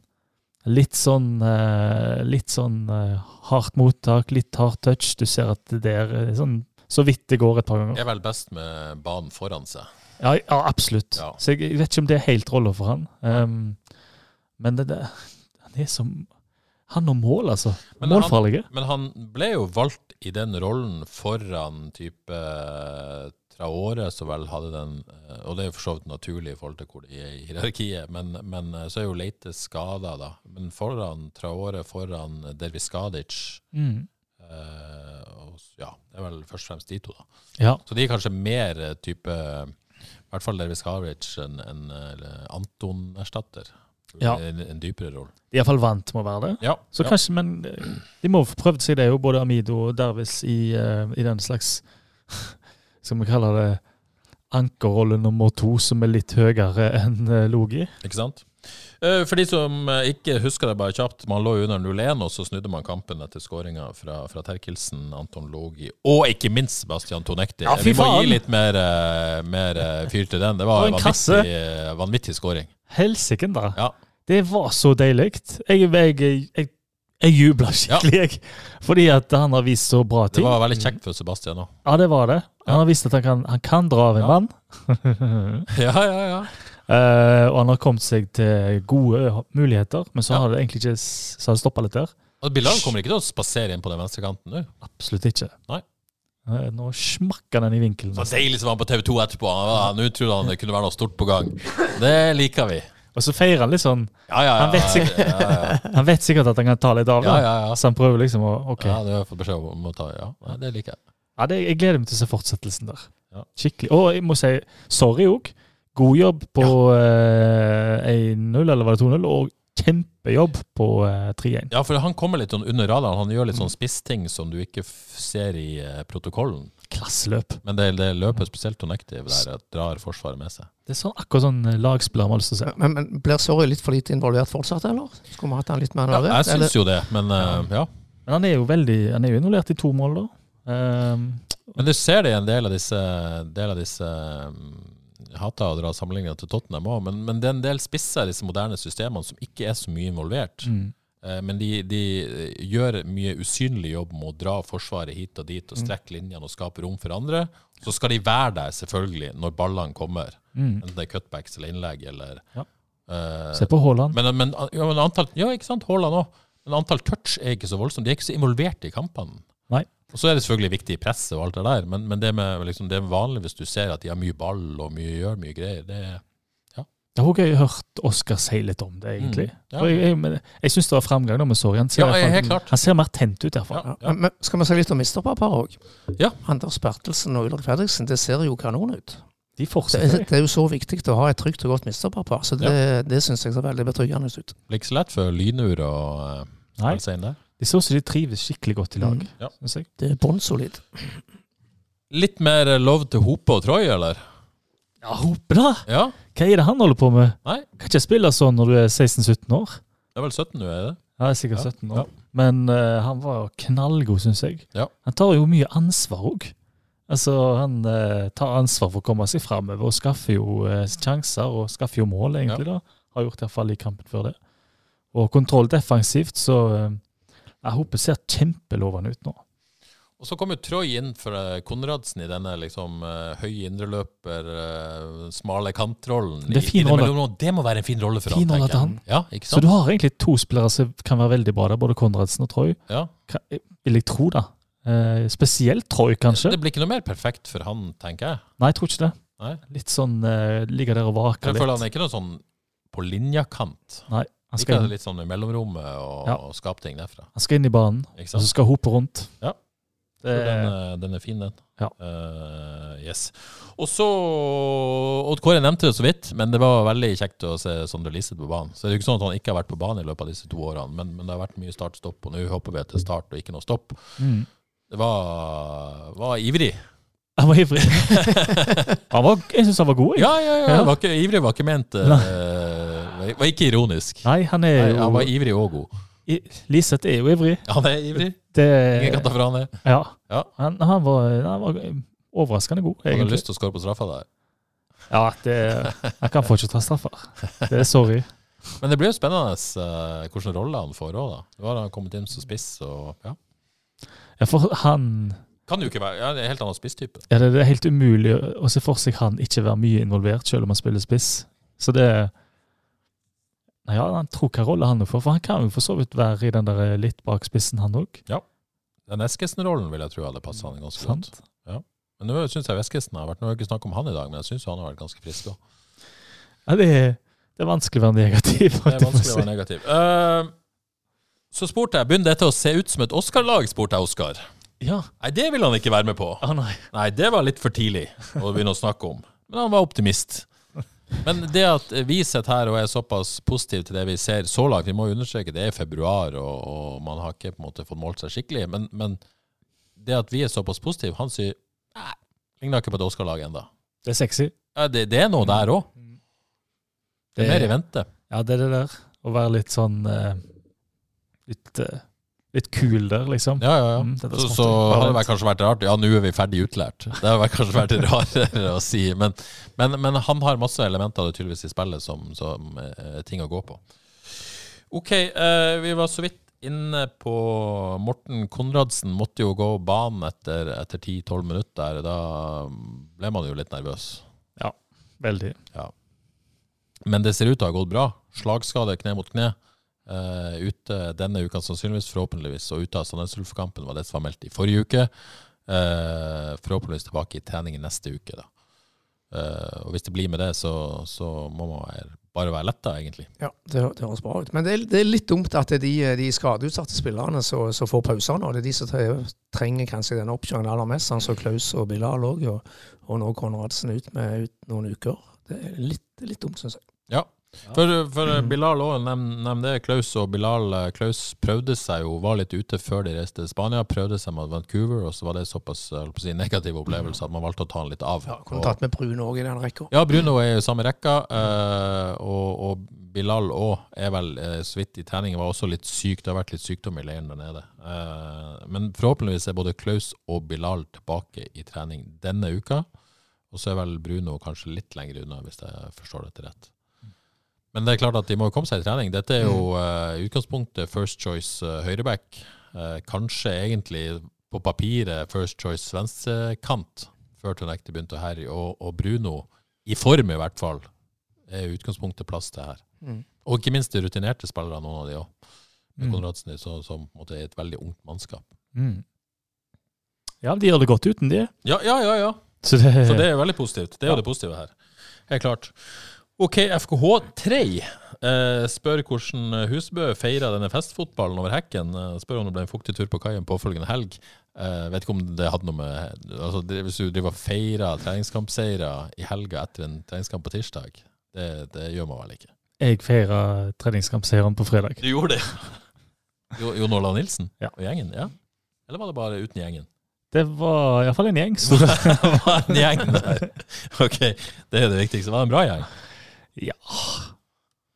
Speaker 3: Litt sånn, eh, litt sånn eh, hardt mottak, litt hard touch. Du ser at det er eh, sånn så vidt det går et par ganger.
Speaker 1: Er vel best med banen foran seg.
Speaker 3: Ja, ja absolutt.
Speaker 1: Ja.
Speaker 3: Så jeg, jeg vet ikke om det er helt rolla for han. Ehm, men det, det, han er som Han og mål, altså.
Speaker 1: Men han-
Speaker 3: Målfarlige.
Speaker 1: Men han ble jo valgt i den rollen foran type eh, Traore, som vel hadde den eh, Og det er jo for så vidt naturlig i forhold til hvor de er i hierarkiet, men, men eh, så er jo Leite skada, da. Men foran Traore, foran Dervis Skadic
Speaker 3: Mm.
Speaker 1: eh, og, s- Ja, det er vel først og fremst de to, da.
Speaker 3: Ja.
Speaker 1: Så de er kanskje mer eh, type I hvert fall Dervis Havic en, en eh, Anton-erstatter.
Speaker 3: Ja.
Speaker 1: En, en dypere rolle.
Speaker 3: De er iallfall vant med å være det.
Speaker 1: Ja.
Speaker 3: Så
Speaker 1: ja.
Speaker 3: kanskje, men eh, de må få prøvd seg det jo, både Amido og Dervis i, eh, i den slags Skal vi kalle det ankerrolle nummer to, som er litt høyere enn eh, Logi.
Speaker 1: Ikke sant? Eh, For de som eh, ikke husker det bare kjapt, man lå jo under 0-1, og så snudde man kampen etter skåringa fra, fra Terkelsen, Anton Logi og ikke minst Sebastian Tonekti.
Speaker 3: Ja, fy
Speaker 1: Vi må
Speaker 3: faen!
Speaker 1: gi litt mer, eh, mer eh, fyr til den. Det var
Speaker 3: Og
Speaker 1: en
Speaker 3: en kasse.
Speaker 1: vanvittig, eh, vanvittig skåring.
Speaker 3: Helsike, da.
Speaker 1: Ja.
Speaker 3: Det var så deilig. Jeg, jeg, jeg, jeg jubla skikkelig, jeg. Fordi at han har vist så bra
Speaker 1: Det
Speaker 3: ting.
Speaker 1: var veldig kjekt for Sebastian òg.
Speaker 3: Ja, det var det.
Speaker 1: Ja.
Speaker 3: Han har vist at han kan, han kan dra av en
Speaker 1: Ja.
Speaker 3: mann.
Speaker 1: Ja, ja, ja.
Speaker 3: Eh, og han har kommet seg til gode muligheter, men så
Speaker 1: Ja.
Speaker 3: har det egentlig ikke s- så har det stoppa litt der.
Speaker 1: Og Bilal kommer ikke til å spasere inn på den venstre kanten nå.
Speaker 3: Absolutt ikke.
Speaker 1: Nei.
Speaker 3: Eh, Nå smakk han den i vinkelen.
Speaker 1: Så deilig som han på TV 2 etterpå. Han var- Nå trodde han det kunne være noe stort på gang. Det liker vi.
Speaker 3: Og så feirer han litt sånn.
Speaker 1: Ja, ja, ja.
Speaker 3: Han vet sikkert-
Speaker 1: Ja, ja,
Speaker 3: Han vet sikkert at han kan ta litt av,
Speaker 1: ja.
Speaker 3: da.
Speaker 1: ja, ja.
Speaker 3: så han prøver liksom å OK.
Speaker 1: ja
Speaker 3: Ja.
Speaker 1: du har fått beskjed om å ta Ja, ja, det liker jeg.
Speaker 3: det, jeg gleder meg til å se fortsettelsen der.
Speaker 1: Ja.
Speaker 3: Skikkelig. Og jeg må si sorry òg. God jobb på eh, 1-0, eller var det 2-0? Og kjempejobb på eh, 3-1.
Speaker 1: Ja, for han kommer litt sånn under radaren. Han gjør litt sånn spissting som du ikke f ser i eh, protokollen.
Speaker 3: Klasseløp.
Speaker 1: Men det, det løpet spesielt Tonektiv der eh, drar Forsvaret med seg.
Speaker 3: Det er sånn, akkurat sånn eh, lagspiller man har lyst til å se.
Speaker 2: Men, men blir Sorry litt for lite involvert fortsatt, eller? Skulle vi hatt han litt mer
Speaker 1: Ja,
Speaker 2: nærmere?
Speaker 1: jeg syns jo det, men eh, ja.
Speaker 3: Men han er jo veldig, han er jo involvert i to mål, da. Ehm,
Speaker 1: Men du ser det i en del av disse, del av disse mm, Hater å dra sammenligninger til Tottenham òg, men, men det er en del spisser i disse moderne systemene som ikke er så mye involvert.
Speaker 3: mm.
Speaker 1: Eh, Men de, de gjør mye usynlig jobb med å dra Forsvaret hit og dit og strekke linjene og skape rom for andre. Så skal de være der, selvfølgelig, når ballene kommer.
Speaker 3: Mm.
Speaker 1: Enten det er cutbacks eller innlegg eller
Speaker 3: Ja.
Speaker 1: Eh,
Speaker 3: Se på Haaland.
Speaker 1: Men, men, ja, men antall Ja, ikke sant? Haaland òg. Men antall touch er ikke så voldsomt. De er ikke så involvert i kampene.
Speaker 3: Nei.
Speaker 1: Og så er det selvfølgelig viktig i presset og alt det der, men, men det, med, liksom, det er vanlig hvis du ser at de har mye ball og mye, gjør mye greier. Det er
Speaker 3: Det har også jeg hørt Oskar si litt om det, egentlig.
Speaker 1: Mm. Ja.
Speaker 3: For Jeg, jeg, men jeg syns det var framgang nå med Sorry. Han ser,
Speaker 1: Ja,
Speaker 3: i hvert fall-
Speaker 1: helt klart.
Speaker 3: han ser mer tent ut, iallfall.
Speaker 1: Ja,
Speaker 2: Ja,
Speaker 1: ja.
Speaker 2: Men, men skal vi si litt om misterpapaer òg?
Speaker 1: Ja.
Speaker 2: Anders Bertelsen og Ulrik Fredriksen, det ser jo kanon ut.
Speaker 3: De
Speaker 2: Det, er-
Speaker 3: fortsetter.
Speaker 2: det er jo så viktig å ha et trygt og godt misterpappa, så det, det syns jeg ser veldig betryggende ut.
Speaker 1: blir ikke så lett for Lynur å eh,
Speaker 3: Nei,
Speaker 1: melde seg inn der.
Speaker 3: de ser ut som de trives skikkelig godt i lag.
Speaker 2: Mm.
Speaker 1: Ja.
Speaker 3: synes jeg.
Speaker 2: Det er bunnsolid.
Speaker 1: Litt mer eh, lov til Hope og Troy, eller?
Speaker 3: Ja, Hope, da!
Speaker 1: Ja,
Speaker 3: Hva er det han holder på med?
Speaker 1: Nei.
Speaker 3: Kan ikke spille sånn når du er 16-17 år.
Speaker 1: det er vel 17 nå, er det?
Speaker 3: Ja, jeg er sikkert
Speaker 1: Ja,
Speaker 3: 17
Speaker 1: ja.
Speaker 3: år. Men eh, han var knallgod, syns jeg.
Speaker 1: Ja.
Speaker 3: Han tar jo mye ansvar òg. Altså, han eh, tar ansvar for å komme seg framover og skaffer jo eh, sjanser og skaffer jo mål, egentlig. da. Har gjort iallfall i kampen før det. Og kontroll defensivt, så eh, jeg håper ser kjempelovende ut nå.
Speaker 1: Og så kom jo Troy inn for eh, Konradsen i denne liksom eh, høye indreløper, eh, smale kantrollen.
Speaker 3: Det er
Speaker 1: i-
Speaker 3: fin
Speaker 1: i
Speaker 3: rolle.
Speaker 1: mellomrom. Det må være en fin rolle for
Speaker 3: Fin
Speaker 1: han,
Speaker 3: rolle til
Speaker 1: tenker jeg. Ja, ikke
Speaker 3: Så
Speaker 1: sant?
Speaker 3: du har egentlig to spillere som kan være veldig bra der, både Konradsen og Troy.
Speaker 1: ja.
Speaker 3: Ka- eh, Vil jeg tro, da. Eh, spesielt Troy, kanskje.
Speaker 1: Det blir ikke noe mer perfekt for han, tenker jeg.
Speaker 3: Nei, jeg tror ikke det.
Speaker 1: Nei.
Speaker 3: Litt sånn eh, ligger der og vaker
Speaker 1: Jeg føler han
Speaker 3: litt.
Speaker 1: er ikke noe sånn på linjakant.
Speaker 3: Nei, han
Speaker 1: Ikke
Speaker 3: skal, inn,
Speaker 1: litt sånn i mellomrommet og,
Speaker 3: Ja.
Speaker 1: og skape ting derfra.
Speaker 3: han skal inn i banen,
Speaker 1: Ikke
Speaker 3: og så
Speaker 1: sant?
Speaker 3: skal hope rundt.
Speaker 1: Ja.
Speaker 3: Det,
Speaker 1: Så den, er- den er fin, den.
Speaker 3: Eh, Ja.
Speaker 1: Eh, yes. Og så Odd Kåre nevnte det så vidt, men det var veldig kjekt å se Sondre Liseth på banen. Så det er jo ikke sånn at han ikke har vært på banen i løpet av disse to årene, men, men det har vært mye start-stopp, og nå håper vi at det er start og ikke noe stopp.
Speaker 3: mm.
Speaker 1: Det var, var ivrig.
Speaker 3: Han var ivrig. han var, jeg syns han var god. jeg.
Speaker 1: Ja, ja, ja.
Speaker 3: Ja.
Speaker 1: det Var ikke, ivrig var ikke ment eh, var- Var ikke ironisk.
Speaker 3: Nei, han er
Speaker 1: Nei,
Speaker 3: jo
Speaker 1: han var ivrig og god.
Speaker 3: i- Liseth er jo ivrig.
Speaker 1: Han er ivrig.
Speaker 3: Det,
Speaker 1: Ingen kan ta fra han det.
Speaker 3: ja.
Speaker 1: Ja.
Speaker 3: Han, han, var, han var overraskende god,
Speaker 1: Han har
Speaker 3: egentlig.
Speaker 1: lyst til å skåre på straffa der.
Speaker 3: Ja, det, han kan fortsatt ta straffer. Det er sorry.
Speaker 1: Men det blir jo spennende uh, hvilken rolle han får òg, da. Nå har han kommet inn som spiss, og ja.
Speaker 3: Ja, for han
Speaker 1: Kan jo ikke være ja, det er en helt annen spisstype.
Speaker 3: ja, det, det er helt umulig å å se for seg han ikke være mye involvert, selv om han spiller spiss. Så det Nei, ja, Han tror hva rolle han er for, for han kan jo for så vidt være i den der eh, litt bak spissen, han òg.
Speaker 1: Den Eskesen-rollen vil jeg tro hadde passet han ganske godt.
Speaker 3: Sant?
Speaker 1: Men nå syns jeg Eskesen har vært Nå har vi ikke snakket om han i dag, men jeg syns han har vært ganske frisk òg.
Speaker 3: Ja, det, er- det er vanskelig å være negativ.
Speaker 1: Det er
Speaker 3: holdt jeg på å
Speaker 1: vanskelig å
Speaker 3: si.
Speaker 1: være negativ. Eh, så spurte jeg Begynner dette å se ut som et Oscar-lag, spurte jeg Oscar.
Speaker 3: Ja.
Speaker 1: Nei, det ville han ikke være med på.
Speaker 3: Å Ah, nei.
Speaker 1: Nei, det var litt for tidlig å begynne å snakke om. Men han var optimist. Men det at vi sitter her og er såpass positive til det vi ser så langt Vi må jo understreke det er februar, og, og man har ikke på en måte fått målt seg skikkelig. Men, men det at vi er såpass positive Han sier nei, ligner ikke på et Oscar-lag ennå.
Speaker 3: Det er sexy.
Speaker 1: Ja, det, det er noe der òg. Det er mer i vente.
Speaker 3: Ja, det er det der. Å være litt sånn eh, Litt, eh, litt kul der, liksom.
Speaker 1: Ja, ja, ja.
Speaker 3: Mm, dette er
Speaker 1: så
Speaker 3: smart.
Speaker 1: så
Speaker 3: Bare
Speaker 1: hadde det
Speaker 3: vent.
Speaker 1: vært- kanskje vært rart. Ja, nå er vi ferdig utlært. Det hadde vært kanskje vært rarere å si. Men, men, men han har masse elementer av det tydeligvis i spillet som, som eh, ting å gå på. OK, eh, vi var så vidt inne på Morten Konradsen. Måtte jo gå banen etter, etter 10-12 minutter. Da ble man jo litt nervøs.
Speaker 3: Veldig.
Speaker 1: Men det ser ut til å ha gått bra. Slagskade kne mot kne. eh, ute denne uka sannsynligvis, forhåpentligvis. Og ute av Sandnes Ulf-kampen var det som var meldt i forrige uke. Eh, forhåpentligvis tilbake i trening neste uke, da. Eh, og hvis det blir med det, så, så må man være, bare være letta, egentlig.
Speaker 2: Ja, det, hø- det høres bra ut. Men det er, det er litt dumt at det er de, de skadeutsatte spillerne som som får pauser nå. Det er de som tre- trenger kanskje den oppkjøringen aller mest. Han så Klaus og Bilal òg, og, og nå Konradsen ut med ut noen uker. Det er litt, det er litt dumt, syns jeg.
Speaker 1: For, for Bilal òg, nevn nevn det. Klaus og Bilal eh, Klaus prøvde seg jo, var litt ute før de reiste til Spania. Prøvde seg mot Vancouver, og så var det såpass eh, holdt på å si, negativ opplevelse at man valgte å ta han litt av.
Speaker 2: Ja, kunne
Speaker 1: Og-
Speaker 2: tatt med Brun òg i den rekka.
Speaker 1: Ja, Bruno er jo i samme rekka, eh, og, og Bilal òg er vel eh, så vidt i trening. Var også litt syk, det har vært litt sykdom i leiren der nede. Eh, men forhåpentligvis er både Klaus og Bilal tilbake i trening denne uka. Og så er vel Bruno kanskje litt lenger unna, hvis jeg forstår dette rett. Men det er klart at de må jo komme seg i trening. Dette er jo eh, i utgangspunktet first choice eh, høyreback. Eh, kanskje egentlig på papiret first choice svenskekant, før Tonekte begynte å herje. Og, og Bruno i form i hvert fall, er i utgangspunktet plass til her.
Speaker 2: Mm.
Speaker 1: Og ikke minst de rutinerte spillerne, noen av de òg.
Speaker 3: Mm.
Speaker 1: Konradsen er så- som på en måte er et veldig ungt mannskap.
Speaker 3: Mm. Ja, de gjør det godt uten de.
Speaker 1: Ja, ja, ja. ja.
Speaker 3: Så det,
Speaker 1: Så det er veldig positivt. Det er jo
Speaker 3: Ja.
Speaker 1: det positive her. Helt klart. OK, FKH3 eh, spør hvordan Husbø feira denne festfotballen over hekken. Eh, spør om det ble en fuktig tur på kaien påfølgende helg. Eh, vet ikke om det hadde noe med altså, det- Hvis du driver og feirer treningskampseiere i helga etter en treningskamp på tirsdag, det, det gjør man vel ikke?
Speaker 3: Jeg feira treningskampseieren på fredag.
Speaker 1: Du gjorde det? Jo, Jon Olav Nilsen
Speaker 3: Ja.
Speaker 1: og gjengen? ja. Eller var det bare uten gjengen?
Speaker 3: Det var iallfall en gjeng. Store.
Speaker 1: det var en gjeng der. Ok, det er det viktigste. Var det en bra gjeng?
Speaker 3: Det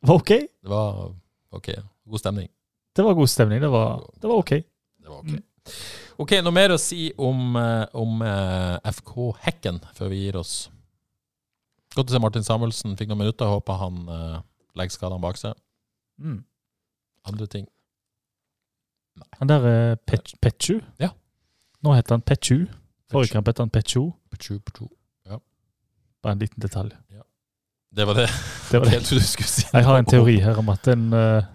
Speaker 3: var ok.
Speaker 1: Det var ok. God stemning.
Speaker 3: Det var god stemning. Det var, det var ok.
Speaker 1: Det var ok. Ok, noe mer å si om, eh, om eh, FK Hekken før vi gir oss? Godt å se Martin Samuelsen fikk noen minutter. Håper han eh, legger skadene bak seg.
Speaker 3: Mm.
Speaker 1: Andre ting.
Speaker 3: Han der er Pet Petju.
Speaker 1: Ja.
Speaker 3: Nå heter han Petju. Forrige kamp het han Petju.
Speaker 1: Pachu, pachu.
Speaker 3: Bare en liten detalj.
Speaker 1: Det var det.
Speaker 3: Det var det.
Speaker 1: Jeg trodde du skulle si
Speaker 3: Jeg har en teori her om at en eh,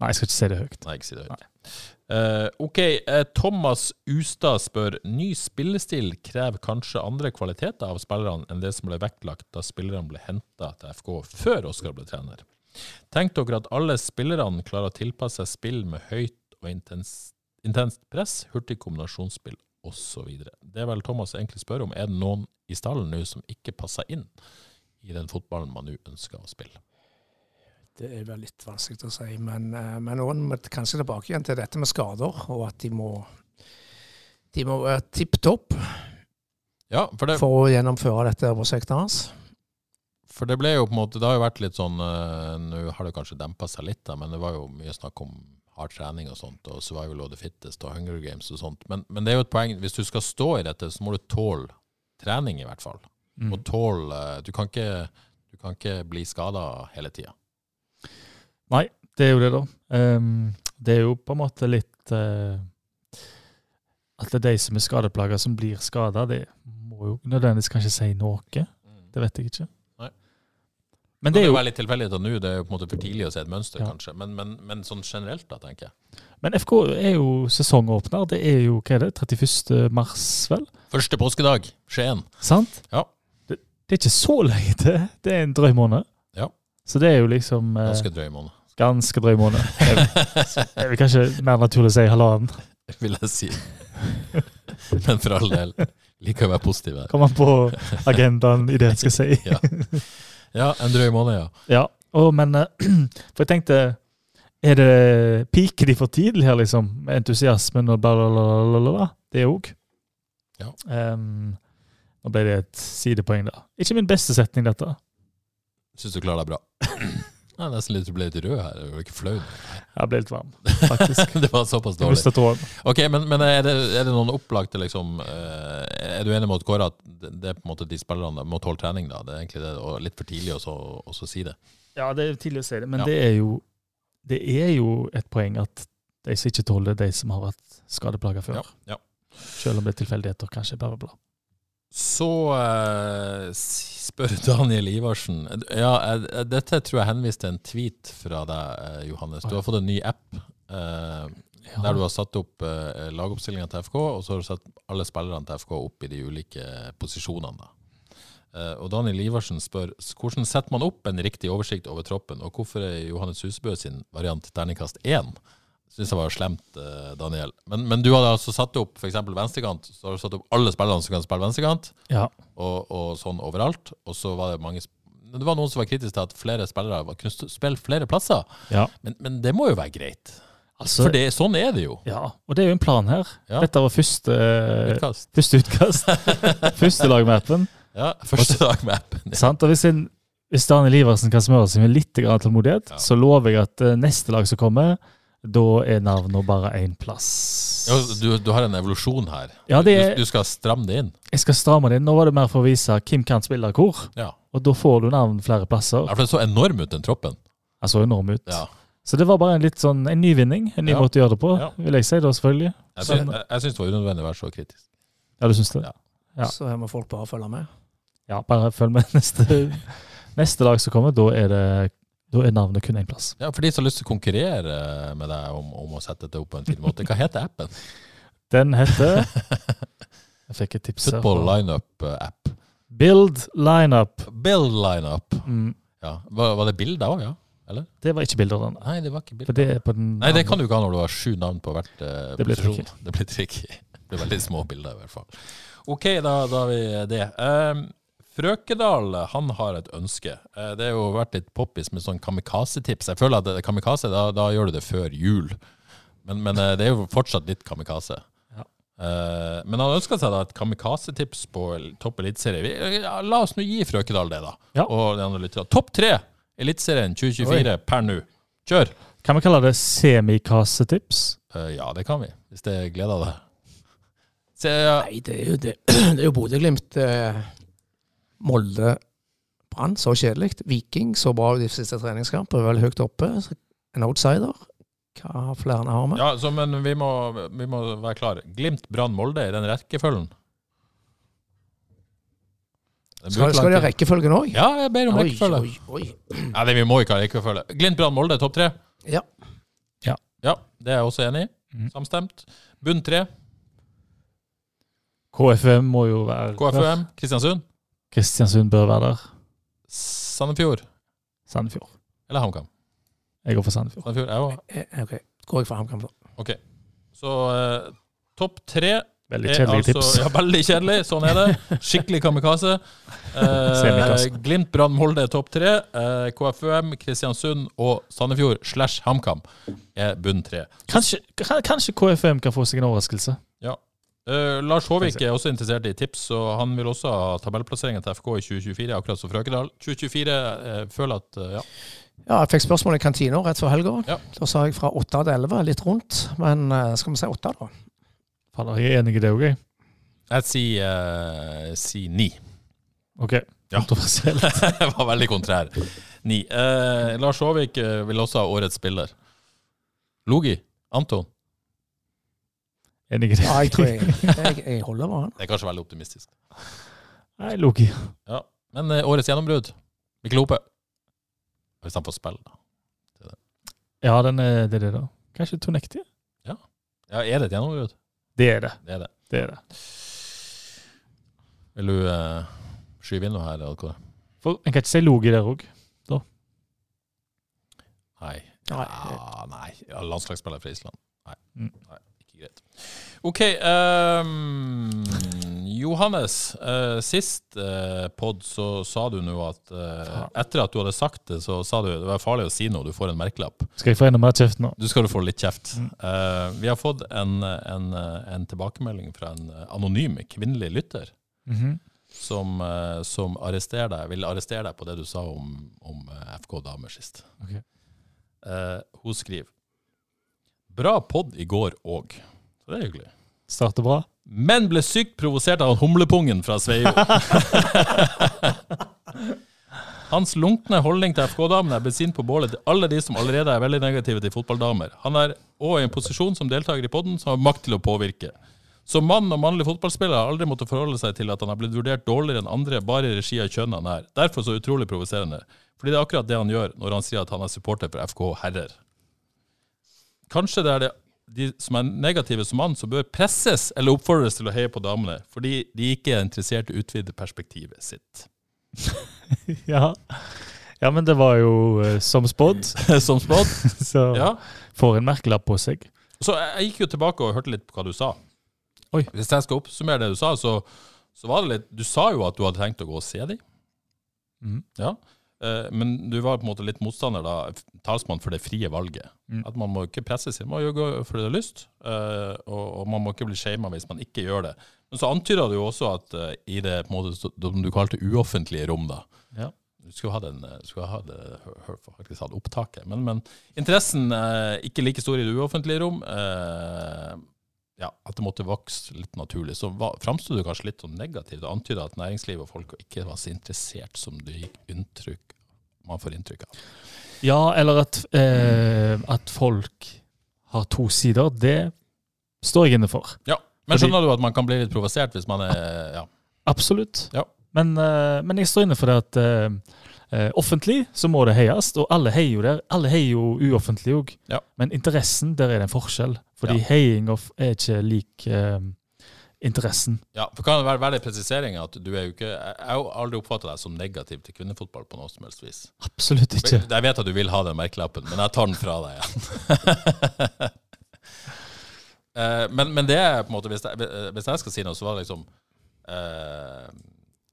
Speaker 3: Nei, jeg skal ikke si det høyt.
Speaker 1: Nei, ikke si det høyt. Eh, ok, eh, Thomas Ustad spør ny spillestil krever kanskje andre kvaliteter av spillerne enn det som ble vektlagt da spillerne ble henta til FK før Oskar ble trener. Tenk dere at alle spillerne klarer å tilpasse seg spill med høyt og intenst, intenst press, hurtig kombinasjonsspill osv. Det er vel Thomas egentlig spør om, er det noen i stallen nå som ikke passer inn i den fotballen man nå ønsker å spille?
Speaker 2: Det er vel litt vanskelig å si, men, eh, men noen må kanskje tilbake igjen til dette med skader, og at de må, de må være tipp topp
Speaker 1: Ja, for det,
Speaker 2: for å gjennomføre dette prosjektet hans.
Speaker 1: For det ble jo på en måte, det har jo vært litt sånn eh, Nå har det kanskje dempa seg litt, da, men det var jo mye snakk om hard trening og sånt, og survival of the fittest og Hunger Games og sånt. Men, men det er jo et poeng, hvis du skal stå i dette, så må du tåle trening, i hvert fall.
Speaker 3: Mm.
Speaker 1: Og tåle eh, Du kan ikke, du kan ikke bli skada hele tida.
Speaker 3: Det er jo det, da. Ehm, det er jo på en måte litt eh, At det er de som er skadeplaga, som blir skada. Det må jo nødvendigvis kanskje si noe. Det vet jeg ikke.
Speaker 1: Mm. Nei.
Speaker 3: Men
Speaker 1: Det
Speaker 3: det er jo
Speaker 1: være litt tilfeldigheter nå, det er jo på en måte for tidlig å se et mønster,
Speaker 3: Ja.
Speaker 1: kanskje. Men, men, men sånn generelt, da, tenker jeg.
Speaker 3: Men FK er jo sesongåpner. Det er jo hva er det, 31. mars, vel?
Speaker 1: Første påskedag, Skien.
Speaker 3: Sant?
Speaker 1: Ja.
Speaker 3: Det, det er ikke så lenge til. Det er en drøy måned.
Speaker 1: Ja.
Speaker 3: Så det er jo liksom eh,
Speaker 1: Ganske drøy måned,
Speaker 3: ganske drøy måned. Det er vel kanskje mer naturlig å si halvannen.
Speaker 1: vil jeg si. men for all del. Liker å være positiv her.
Speaker 3: Kommer an på agendaen i det en skal si.
Speaker 1: Ja. Ja, en drøy måned, ja.
Speaker 3: Ja, og, men eh, For jeg tenkte Er det piker de for tidlig her, liksom? Med entusiasmen og bla, bla, bla, bla, bla, bla. Det òg.
Speaker 1: Ja.
Speaker 3: Ehm, nå ble det et sidepoeng, da. Ikke min beste setning, dette.
Speaker 1: Syns du klarer deg bra? Jeg er nesten litt, du ble litt rød her. Du er ikke flau?
Speaker 3: Jeg ble litt varm, faktisk.
Speaker 1: Det var såpass
Speaker 3: Jeg
Speaker 1: dårlig.
Speaker 3: mistet tråden.
Speaker 1: Ok, Men, men er, det, er det noen opplagte liksom eh, Er du enig med Kåre at det det er på en måte de spillerne må tåle trening? da? Det er egentlig det, og litt for tidlig å så- å så si det.
Speaker 3: Ja, det er tidlig å si det, men
Speaker 1: Ja.
Speaker 3: det, er jo, det er jo et poeng at de som ikke tåler det, er de som har vært skadeplaga før.
Speaker 1: Ja, ja.
Speaker 3: Selv om det er tilfeldigheter, kanskje. Bla, bla, bla.
Speaker 1: Så eh, s- spør Daniel Ivarsen Ja, eh, Dette tror jeg henviste til en tweet fra deg, eh, Johannes. Du har fått en ny app. eh,
Speaker 3: Ja.
Speaker 1: Der du har satt opp uh, lagoppstillinga til FK, og så har du satt alle spillerne til FK opp i de ulike posisjonene. Da. Eh, og Daniel Iversen spør "S- hvordan setter man opp en riktig oversikt over troppen, og hvorfor er Johannes Husebø sin variant terningkast 1? Syns jeg var slemt, eh, Daniel. Men, men du hadde altså satt opp f.eks. venstrekant, så har du satt opp alle spillerne som kan spille venstrekant,
Speaker 3: Ja.
Speaker 1: og, og sånn overalt. Og så var det mange sp- Det var noen som var kritiske til at flere spillere var- kunne st- spille flere plasser,
Speaker 3: Ja.
Speaker 1: men, men det må jo være greit.
Speaker 3: Altså,
Speaker 1: For det, sånn er det jo.
Speaker 3: ja. Og det er jo en plan her.
Speaker 1: Ja.
Speaker 3: Dette var første utkast.
Speaker 1: Utkast.
Speaker 3: Første utkast. første lag med appen.
Speaker 1: Ja, første dag med appen.
Speaker 3: Sant? Og hvis, en, hvis Daniel Iversen kan smøre seg med litt grann tålmodighet,
Speaker 1: Ja.
Speaker 3: så lover jeg at eh, neste lag som kommer, da er navnet bare én plass.
Speaker 1: Ja, Du, du har en evolusjon her.
Speaker 3: Ja, det er-
Speaker 1: du, du skal stramme det inn.
Speaker 3: Jeg skal stramme det inn. Nå var det mer for å vise hvem kan spille hvor.
Speaker 1: Ja.
Speaker 3: Og da får du navn flere plasser.
Speaker 1: Ja, for den så enorm ut, den troppen.
Speaker 3: Han så enorm ut.
Speaker 1: Ja.
Speaker 3: Så det var bare en litt sånn en nyvinning. En ny
Speaker 1: Ja.
Speaker 3: måte å gjøre det på,
Speaker 1: Ja.
Speaker 3: vil jeg si da, selvfølgelig.
Speaker 1: Jeg
Speaker 3: Sånn.
Speaker 1: syns, jeg, jeg syns det var unødvendig å være så kritisk.
Speaker 3: Ja, du syns det?
Speaker 1: Ja.
Speaker 3: Ja, Ja.
Speaker 2: Så her må folk bare følge med.
Speaker 3: bare følg med neste, neste lag som kommer. Da er, det, da er navnet kun én plass.
Speaker 1: Ja, For de som har lyst til å konkurrere med deg om, om å sette det opp på en fin måte, hva heter appen?
Speaker 3: Den heter Jeg fikk et tips her.
Speaker 1: Football lineup-app.
Speaker 3: Build lineup.
Speaker 1: Build lineup.
Speaker 3: Mm,
Speaker 1: Ja. Var, var det bilder òg, ja?
Speaker 3: det var ikke bilder av den.
Speaker 1: Nei, det var ikke
Speaker 3: For
Speaker 1: bilder.
Speaker 3: det er på den
Speaker 1: Nei, det kan du ikke ha når du har sju navn på hvert eh,
Speaker 3: Det blir
Speaker 1: posisjon. Det blir tricky. Det blir veldig små bilder, i hvert fall. OK, da, da har vi det. Ehm, Frøkedal han har et ønske. Eh, det har jo vært litt poppis med sånn kamikaze-tips. Jeg føler at det- kamikaze, da, da gjør du det før jul. Men, men eh, det er jo fortsatt litt kamikaze.
Speaker 3: Ja.
Speaker 1: Eh, men han ønska seg da et kamikaze-tips på l- topp eliteserie. Vi- Ja, la oss nå gi Frøkedal det, da.
Speaker 3: Ja.
Speaker 1: Og de andre lytterne. Topp tre Eliteserien 2024 per nå. Kjør!
Speaker 3: Kan vi kalle det semikasetips?
Speaker 1: Eh, ja, det kan vi, hvis det gleder deg. Se, ja.
Speaker 2: Nei, det er jo, det. Det er jo Bodø-Glimt, eh, Molde, Brann, så kjedelig. Viking så bra ut i siste treningskamp, er vel høyt oppe. En outsider. Hva flere har vi?
Speaker 1: Ja, så, men vi må, vi må være klare. Glimt, Brann, Molde i den rekkefølgen. Den
Speaker 2: Skal, skal de ha rekkefølgen òg?
Speaker 1: Ja, jeg ber om
Speaker 2: Oi,
Speaker 1: rekkefølge.
Speaker 2: oi, oi.
Speaker 1: Nei, det, vi må ikke ha rekkefølge. Glimt, Brann, Molde, topp tre?
Speaker 2: Ja.
Speaker 3: Ja.
Speaker 1: Ja, Det er jeg også enig i.
Speaker 3: Mhm.
Speaker 1: Samstemt. Bunn tre,
Speaker 3: KFUM må jo være der.
Speaker 1: KFUM, Kristiansund,
Speaker 3: Kristiansund bør være der.
Speaker 1: Sandefjord
Speaker 3: Sandefjord.
Speaker 1: eller HamKam.
Speaker 3: Jeg går for Sandefjord.
Speaker 1: Sandefjord er jo
Speaker 2: Eh, Ok, går jeg for HamKam, da.
Speaker 1: Så eh, topp tre
Speaker 3: Veldig
Speaker 1: er
Speaker 3: kjedelig tips.
Speaker 1: Eh, altså, Ja, veldig kjedelig. Sånn er det. Skikkelig kamikaze. Eh,
Speaker 3: Semikasse.
Speaker 1: Glimt, Brann, Molde er topp tre. Eh, KFUM, Kristiansund og Sandefjord slash HamKam er bunn tre.
Speaker 3: Kanskje, kan- kanskje KFUM kan få seg en overraskelse.
Speaker 1: Eh, Lars Håvik er også interessert i tips, og han vil også ha tabellplasseringen til FK i 2024, akkurat som Frøkedal. 2024 eh, føler at eh, ja.
Speaker 2: Ja, jeg fikk spørsmål i kantina rett før helga.
Speaker 1: Ja.
Speaker 2: Da sa jeg fra 8 til 11, litt rundt. Men eh, skal vi si 8, da?
Speaker 3: Faller, jeg er enig i det òg, jeg.
Speaker 1: Jeg sier eh, si ni.
Speaker 3: OK.
Speaker 1: Ja.
Speaker 3: Kontroversielt.
Speaker 1: Jeg var veldig kontrær. Ni. Eh, Lars Håvik eh, vil også ha årets spiller. Logi. Anton.
Speaker 3: Enig i det.
Speaker 2: Ja, jeg tror jeg, jeg, jeg holder med han.
Speaker 1: Det er kanskje veldig optimistisk.
Speaker 3: Nei, Loki.
Speaker 1: Men eh, årets gjennombrudd. Mikkel Hope. Hvis han får spille, da.
Speaker 3: Ja, den er, det er det, da. Kanskje Tonekti?
Speaker 1: Ja, er det et gjennombrudd?
Speaker 3: Det er det.
Speaker 1: Det er det.
Speaker 3: det er det.
Speaker 1: Vil du eh, skyve inn noe her? eller hva?
Speaker 3: For En kan ikke si Loki der òg.
Speaker 1: Nei.
Speaker 2: Nei.
Speaker 1: Ja, nei. Ja, landslagsspiller fra Island. Nei.
Speaker 3: Mm.
Speaker 1: nei. Ikke greit. OK. ehm, Johannes, eh, sist eh, pod så sa du nå at eh,
Speaker 3: Faen.
Speaker 1: Etter at du hadde sagt det, så sa du det var farlig å si noe, du får en merkelapp.
Speaker 3: Skal jeg få enda mer kjeft nå?
Speaker 1: Du skal jo få litt kjeft.
Speaker 3: Mm.
Speaker 1: Eh, vi har fått en, en, en tilbakemelding fra en anonym kvinnelig lytter
Speaker 3: Mhm.
Speaker 1: som, eh, som arresterer deg, vil arrestere deg på det du sa om, om eh, FK damer sist.
Speaker 3: Ok.
Speaker 1: Eh, hun skriver Bra pod i går òg. Så det er hyggelig.
Speaker 3: Starter bra.
Speaker 1: Men ble sykt provosert av han humlepungen fra Sveio. Hans lunkne holdning til FK-damene er bensin på bålet til alle de som allerede er veldig negative til fotballdamer. Han er òg i en posisjon som deltaker i podden som har makt til å påvirke. Som mann og mannlig fotballspiller har aldri måttet forholde seg til at han har blitt vurdert dårligere enn andre bare i regi av kjønn han er. Derfor så utrolig provoserende. Fordi det er akkurat det han gjør når han sier at han er supporter for FK herrer. Kanskje det er det de som er negative som mann, som bør presses eller oppfordres til å heie på damene, fordi de ikke er interessert i å utvide perspektivet sitt.
Speaker 3: Ja. ja, men det var jo eh, som spådd,
Speaker 1: som spådd.
Speaker 3: så
Speaker 1: Ja.
Speaker 3: får en merkelapp på seg.
Speaker 1: Så jeg jeg gikk jo tilbake og hørte litt på hva du sa.
Speaker 3: Oi.
Speaker 1: Hvis jeg skal oppsummere det du sa, så, så var det litt Du sa jo at du hadde tenkt å gå og se dem,
Speaker 3: Mhm.
Speaker 1: ja. Eh, men du var på en måte litt motstander, da, f- talsmann for det frie valget.
Speaker 3: Mhm.
Speaker 1: At man må ikke presse seg, man må jo gå fordi du har lyst, eh, og, og man må ikke bli shama hvis man ikke gjør det. Men så antyda du jo også at eh, i det på en måte, så- som du kalte uoffentlige rom, da
Speaker 3: Ja.
Speaker 1: Du skulle ha, den, eh, skulle ha det, hør, hør, faktisk ha det opptaket, men, men interessen eh, ikke like stor i det uoffentlige rom. Eh, ja, at det måtte vokse litt naturlig. Så var- framsto du kanskje litt sånn negativt og antyda at næringslivet og folk ikke var så interessert som du gikk inntrykk man får inntrykk av.
Speaker 3: Ja, eller at, eh, at folk har to sider, det står jeg inne for.
Speaker 1: Men
Speaker 3: Fordi-
Speaker 1: skjønner du at man kan bli litt provosert hvis man er ja.
Speaker 3: Absolutt.
Speaker 1: Ja.
Speaker 3: Men, eh, men jeg står inne for det at eh, eh, offentlig så må det heies, og alle heier jo der. Alle heier jo uoffentlig òg.
Speaker 1: Ja.
Speaker 3: Men interessen, der er det en forskjell. Fordi
Speaker 1: Ja.
Speaker 3: heiinga f- er ikke lik eh, interessen.
Speaker 1: ja, for Kan det være, være det presiseringa at du er jo ikke Jeg jeg har jo aldri oppfatta deg som negativ til kvinnefotball på noe som helst vis.
Speaker 3: Absolutt ikke.
Speaker 1: Jeg vet at du vil ha den merkelappen, men jeg tar den fra deg igjen. Eh, men, men det er på en måte Hvis jeg, hvis jeg skal si noe, så var det liksom eh,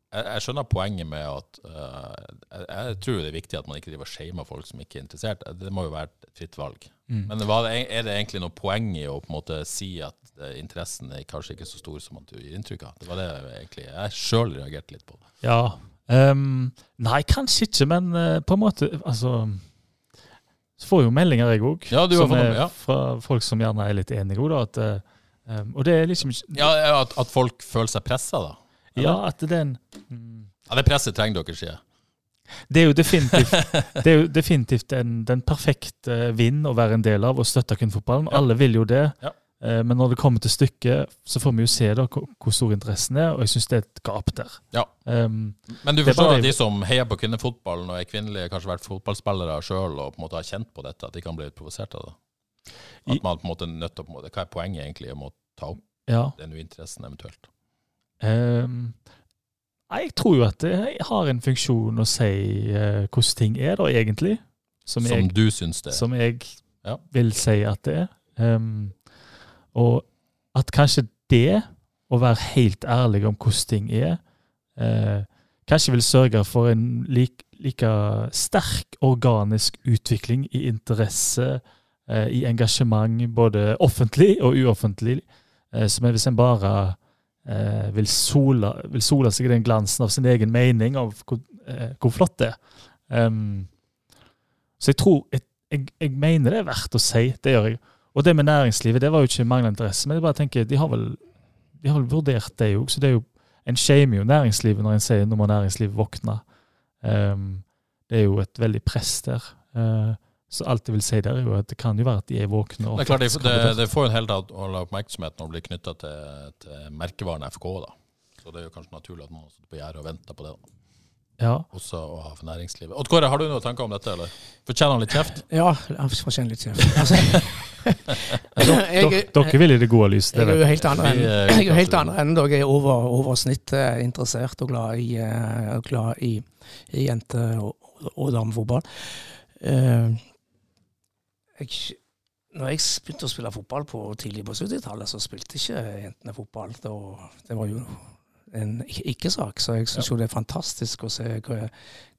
Speaker 1: jeg, jeg skjønner poenget med at eh, jeg, jeg tror det er viktig at man ikke driver og shamer folk som ikke er interessert. Det må jo være et fritt valg.
Speaker 3: Mm.
Speaker 1: Men var det, er det egentlig noe poeng i å på en måte si at eh, interessen er kanskje ikke så stor som man gir inntrykk av? Det var det jeg egentlig jeg sjøl reagerte litt på.
Speaker 3: Ja. ehm, nei, kanskje ikke, men eh, på en måte Altså Så får jeg jo meldinger, jeg òg,
Speaker 1: Ja, du har fått noen, ja.
Speaker 3: fra folk som gjerne er litt enige òg, da. At, eh, ehm, og det er liksom ikke
Speaker 1: Ja, ja, at, at folk føler seg pressa, da.
Speaker 3: Ja, at det er en mm,
Speaker 1: Ja, Det presset trenger dere, sier jeg.
Speaker 3: Det er jo definitivt, det er jo definitivt en, den perfekte vind å være en del av og støtte kvinnefotballen. Alle vil jo det.
Speaker 1: Ja.
Speaker 3: Eh, Men når det kommer til stykket, så får vi jo se da hvor hvor stor interessen er, og jeg syns det er et gap der. Ehm,
Speaker 1: Ja.
Speaker 3: Em,
Speaker 1: Men du
Speaker 3: Det er
Speaker 1: forstår
Speaker 3: bare-
Speaker 1: at de som heier på kvinnefotballen og er kvinnelige, kanskje har vært fotballspillere sjøl og på en måte har kjent på dette, at de kan bli litt provosert av det?
Speaker 3: I-
Speaker 1: At man på en måte er nødt til å på en måte, Hva er poenget egentlig om å ta opp
Speaker 3: ja.
Speaker 1: den uinteressen eventuelt?
Speaker 3: Em, nei, jeg tror jo at det har en funksjon å si eh, hvordan ting er, da, egentlig. Som,
Speaker 1: Som
Speaker 3: jeg,
Speaker 1: du syns det.
Speaker 3: som jeg
Speaker 1: Ja.
Speaker 3: vil si at det er. Em, og at kanskje det, å være helt ærlig om hvordan ting er, eh, kanskje vil sørge for en lik, like sterk organisk utvikling i interesse, eh, i engasjement, både offentlig og uoffentlig, eh, som er hvis en bare eh, vil, sola, vil sola seg i den glansen av sin egen mening av hvor, eh, hvor flott det er. Em, så jeg tror jeg, jeg, jeg mener det er verdt å si. Det gjør jeg. Og det med næringslivet, det var jo ikke manglende interesse, men jeg bare tenker, de har vel, de har vel vurdert det jo, så det er jo en shamer jo næringslivet når en sier nå må næringslivet våkne. Ehm, det er jo et veldig press der. Eh, så alt jeg vil si der, er jo at det kan jo være at de er våkne. og
Speaker 1: Det er klart,
Speaker 3: faktisk
Speaker 1: det,
Speaker 3: har
Speaker 1: det,
Speaker 3: vurdert.
Speaker 1: det får jo en hel del oppmerksomhet når det blir knytta til, til merkevaren FK, da. Så det er jo kanskje naturlig at noen sitter på gjerdet og venter på det, da.
Speaker 3: Ja.
Speaker 1: også å ha for næringslivet. Odd Kåre, har du noen tanker om dette, eller? Fortjener han litt kjeft?
Speaker 2: Ja, jeg får kjenne litt kjeft. Altså, jeg,
Speaker 3: Dere- dere vil i det gode lyset. det
Speaker 2: Jeg er
Speaker 3: vet
Speaker 2: jo helt andre
Speaker 1: Vi,
Speaker 2: enn
Speaker 1: eh,
Speaker 2: jeg er jo helt
Speaker 1: kanskje-
Speaker 2: andre enn dere. Jeg er over, over snittet interessert og glad i, eh, og glad i, i jente- og, og damefotball. Eh, jeg, når jeg s- begynte å spille fotball på, tidlig på 70-tallet, så spilte ikke jentene fotball. Det var, det var jo en ik- ikke-sak, så jeg syns jo det er fantastisk å se hva-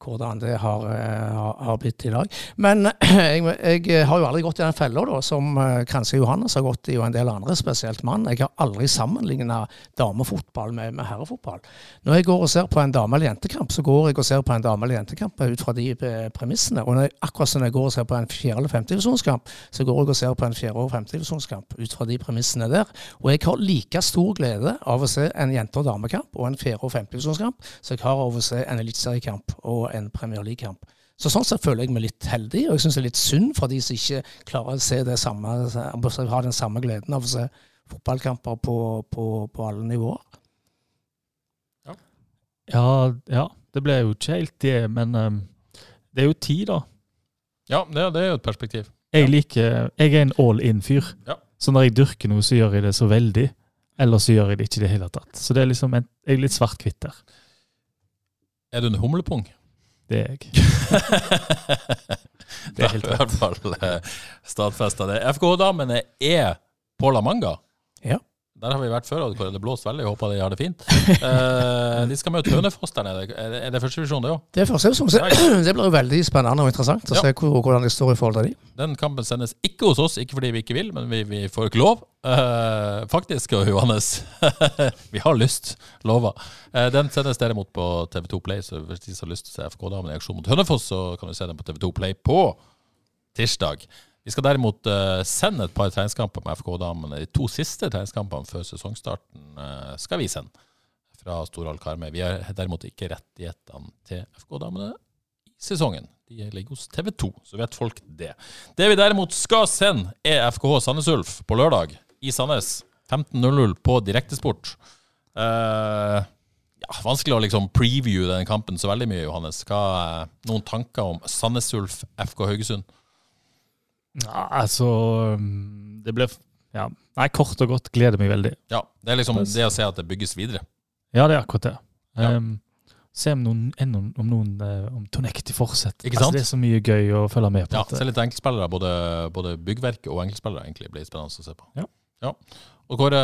Speaker 2: hvordan det har, eh, har, har blitt i dag. Men jeg, jeg har jo aldri gått i den fella da, som eh, kanskje Johannes har gått i, og en del andre, spesielt mann. Jeg har aldri sammenligna damefotball med, med herrefotball. Når jeg går og ser på en dame- eller jentekamp, så går jeg og ser på en dame- eller jentekamp ut fra de eh, premissene. Og når jeg, akkurat som når jeg går og ser på en fjerde- eller femtedivisjonskamp, så går jeg og ser på en fjerde- og femtedivisjonskamp ut fra de premissene der. Og jeg har like stor glede av å se en jente- og damekamp og en fjerde- og femtedivisjonskamp som jeg har av å se en eliteseriekamp og en Premier League-kamp. Så sånn sett føler jeg meg litt heldig, og jeg syns det er litt synd for de som ikke klarer å se det samme, har den samme gleden av å se fotballkamper på, på, på alle nivåer.
Speaker 3: Ja, ja, det ble jo ikke helt det, men ehm, det er jo tid, da.
Speaker 1: Ja, det, det er jo et perspektiv.
Speaker 3: Jeg liker, jeg er en all in-fyr.
Speaker 1: Ja.
Speaker 3: Så når jeg dyrker noe, så gjør jeg det så veldig. Eller så gjør jeg det ikke i det hele tatt. Så det er liksom en, jeg er litt svart-hvitt der.
Speaker 1: Er du en humlepung?
Speaker 3: Det er jeg.
Speaker 1: det er helt rett. I hvert fall eh, stadfesta det. FK-damene er på La Manga.
Speaker 2: Ja.
Speaker 1: Der har vi vært før, og hvor det blåser veldig. Jeg håper de har det fint. Eh, de skal møte Hønefoss der nede. Er det, er det første divisjon, det òg?
Speaker 2: Det er første som
Speaker 1: Ja, ja.
Speaker 2: Det blir jo veldig spennende og interessant å
Speaker 1: Ja.
Speaker 2: se hvor, hvordan det står i forhold til de.
Speaker 1: Den kampen sendes ikke hos oss, ikke fordi vi ikke vil, men vi, vi får ikke lov. Eh, faktisk, og Johannes, vi har lyst, lova. Eh, den sendes derimot på TV2 Play, så hvis de som har lyst til å se FK-damen i aksjon mot Hønefoss, så kan du se den på TV2 Play på tirsdag. Vi skal derimot eh, sende et par treningskamper med FK-damene. De to siste treningskampene før sesongstarten eh, skal vi sende fra Storhall Karmøy. Vi har derimot ikke rettighetene til FK-damene i sesongen. De ligger hos TV2, så vet folk det. Det vi derimot skal E sende, er FKH Sandnes Ulf på lørdag i Sandnes. 15.00 på direktesport. Eh, ja, vanskelig å liksom preview den kampen så veldig mye, Johannes. Hva, eh, noen tanker om Sandnes Ulf FK Haugesund?
Speaker 3: Ja, altså mm, Det ble f- ja. Nei, kort og godt gleder meg veldig.
Speaker 1: Ja, Det er liksom det å se at det bygges videre.
Speaker 3: Ja, det er akkurat det.
Speaker 1: Ja.
Speaker 3: Ehm, se om noen, ennå om noen eh, om Tonekti fortsetter.
Speaker 1: Ikke sant?
Speaker 3: Altså, det er så mye gøy å følge med på.
Speaker 1: Ja,
Speaker 3: at- eh,
Speaker 1: Se litt enkeltspillere. Både, både byggverket og enkeltspillere egentlig blir spennende å se på.
Speaker 3: Ja.
Speaker 1: Og Kåre,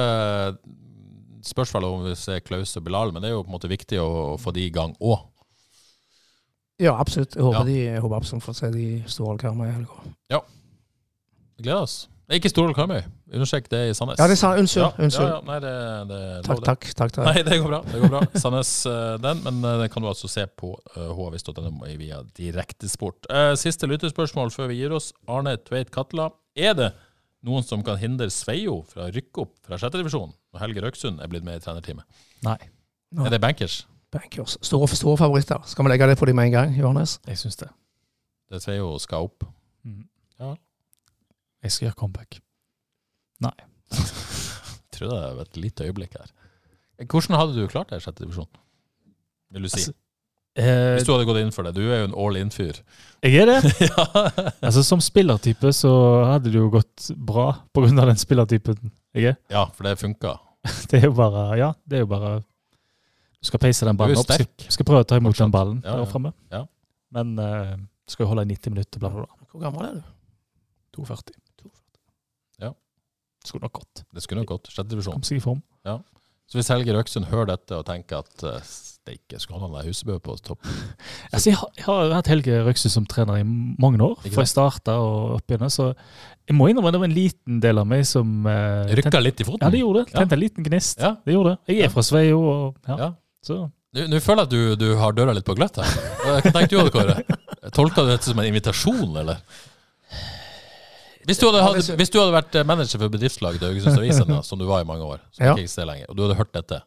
Speaker 1: spørsmålet om vi ser Klaus og Bilal, men det er jo på en måte viktig å få de i gang òg.
Speaker 2: Ja, absolutt. Jeg håper,
Speaker 1: Ja.
Speaker 2: de, jeg håper absolutt får se de store kamera i helga.
Speaker 1: Vi gleder oss. Det er ikke Storhol Karmøy. Understrek det i Sandnes.
Speaker 2: Ja, det sa Unnskyld.
Speaker 1: Ja,
Speaker 2: unnskyld.
Speaker 1: Ja, ja, nei, det, det er lov
Speaker 2: Takk,
Speaker 1: det.
Speaker 2: takk. takk til deg.
Speaker 1: Nei, det går bra. det går bra. Sandnes eh, den, men eh, den kan du altså se på uh, hvis.no i via direktesport. Eh, siste lyttespørsmål før vi gir oss. Arne Tveit Katla. Er det noen som kan hindre Sveio fra å rykke opp fra sjette divisjon når Helge Røksund er blitt med i trenerteamet?
Speaker 3: Nei.
Speaker 2: Nei.
Speaker 1: Er det bankers?
Speaker 2: Bankkurs. altså. Store, store favoritter. Skal vi legge det på dem med en gang, Johannes?
Speaker 3: Jeg syns det.
Speaker 1: Det sier jo skal opp.
Speaker 3: Mm.
Speaker 1: Ja.
Speaker 3: Jeg skal gjøre comeback. Nei.
Speaker 1: Jeg tror det er et lite øyeblikk her. Eh, Hvordan hadde du klart det i sjette divisjon? Vil du si.
Speaker 3: Altså, Eh,
Speaker 1: Hvis du hadde gått inn for det. Du er jo en all in-fyr.
Speaker 3: jeg er det.
Speaker 1: ja.
Speaker 3: Altså, som spillertype så hadde det jo gått bra pga. den spillertypen jeg er.
Speaker 1: ja, for det funka.
Speaker 3: Det er jo bare Ja, det er jo bare Du skal peise den
Speaker 1: Du
Speaker 3: ballen
Speaker 1: er jo
Speaker 3: opp. Skal,
Speaker 1: sterk.
Speaker 3: skal prøve å ta imot den ballen
Speaker 1: Ja, ja.
Speaker 3: der fremme.
Speaker 1: Ja.
Speaker 3: Men eh, skal jo holde i 90 minutter, bla, bla, bla.
Speaker 2: Hvor gammel er du?
Speaker 3: 42.
Speaker 1: Ja.
Speaker 3: Skulle nok gått.
Speaker 1: Det skulle nok gått. Sjette divisjon.
Speaker 3: Kom seg i form.
Speaker 1: Så hvis Helge Røksund hører dette og tenker at eh, steike, skulle han ha den der Husebø på topp?
Speaker 3: Altså, jeg, har, jeg har hatt Helge Røksø som trener i mange år,
Speaker 1: Ikke sant?
Speaker 3: fra jeg starta og opp igjennom. Så jeg må innrømme det var en liten del av meg som eh,
Speaker 1: Rykka litt i foten.
Speaker 3: Ja, det gjorde det.
Speaker 1: Ja.
Speaker 3: Tente en liten gnist.
Speaker 1: Ja.
Speaker 3: Det gjorde det. Jeg
Speaker 1: Ja.
Speaker 3: er fra Sveio, og ja.
Speaker 1: Ja.
Speaker 3: Så
Speaker 1: Nå nå føler jeg at du, du har døra litt på gløtt her. Eh, Hva tenkte du, Odd Kåre? Tolka du dette som en invitasjon, eller? Hvis du hadde, hadde, hvis du hadde vært eh, manager for bedriftslaget til Haugesunds Avisen, da, som du var i mange år, som
Speaker 2: Ja.
Speaker 1: ikke eksisterer lenger, og du hadde hørt dette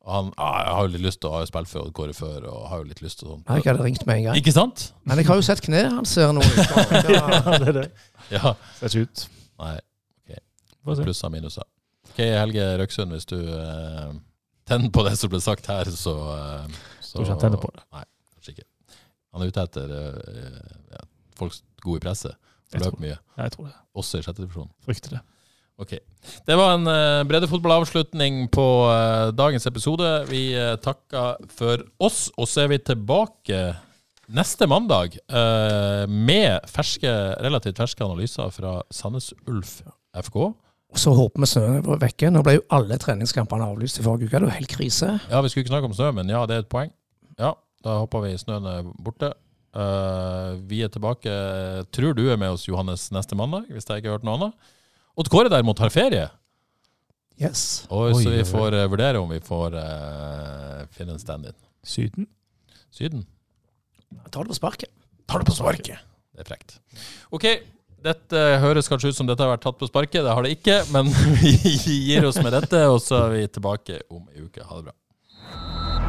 Speaker 1: og han ah, jeg har jo litt lyst til å ha spilt for Odd Kåre før, og har jo litt lyst til
Speaker 2: Nei,
Speaker 1: sånn.
Speaker 2: jeg hadde ringt med en gang.
Speaker 1: Ikke sant?
Speaker 2: Men jeg har jo sett kneet hans her nå. Ja.
Speaker 3: det er det.
Speaker 1: Ja.
Speaker 3: Ser ikke ut.
Speaker 1: Nei.
Speaker 3: Få se.
Speaker 1: Plusser og minuser. Ok, Helge Røksund, hvis du eh, tenner på det som ble sagt her, så, eh, så
Speaker 3: Tror ikke han tenner på det.
Speaker 1: Nei, kanskje ikke. Han er ute etter eh, ja, folk gode i presset.
Speaker 3: Jeg
Speaker 1: Løp
Speaker 3: tror-
Speaker 1: mye,
Speaker 3: Ja, jeg tror det.
Speaker 1: også i sjette divisjon.
Speaker 3: Frykter det.
Speaker 1: Ok. Det var en uh, breddefotballavslutning på eh, dagens episode. Vi eh, takker for oss, og så er vi tilbake neste mandag eh, med ferske, relativt ferske analyser fra Sandnes Ulf FK.
Speaker 2: Og Så håper vi snøen er vekke. Nå ble jo alle treningskampene avlyst i forrige uke. Det var jo helt krise.
Speaker 1: Ja, vi skulle ikke snakke om snø, men ja, det er et poeng. Ja, da håper vi snøen er borte. Eh, vi er tilbake, tror du er med oss, Johannes, neste mandag, hvis jeg ikke har hørt noe annet. Odd Kåre derimot har ferie,
Speaker 2: Yes.
Speaker 3: Oi,
Speaker 1: og så
Speaker 3: oi,
Speaker 1: vi
Speaker 3: oi.
Speaker 1: får eh, vurdere om vi får eh, finne en stand-in.
Speaker 3: Syden?
Speaker 1: Syden.
Speaker 2: Ta det på sparket.
Speaker 1: Tar det på sparket! Det er frekt. OK. Dette høres kanskje ut som dette har vært tatt på sparket. Det har det ikke, men vi gir oss med dette, og så er vi tilbake om ei uke. Ha det bra.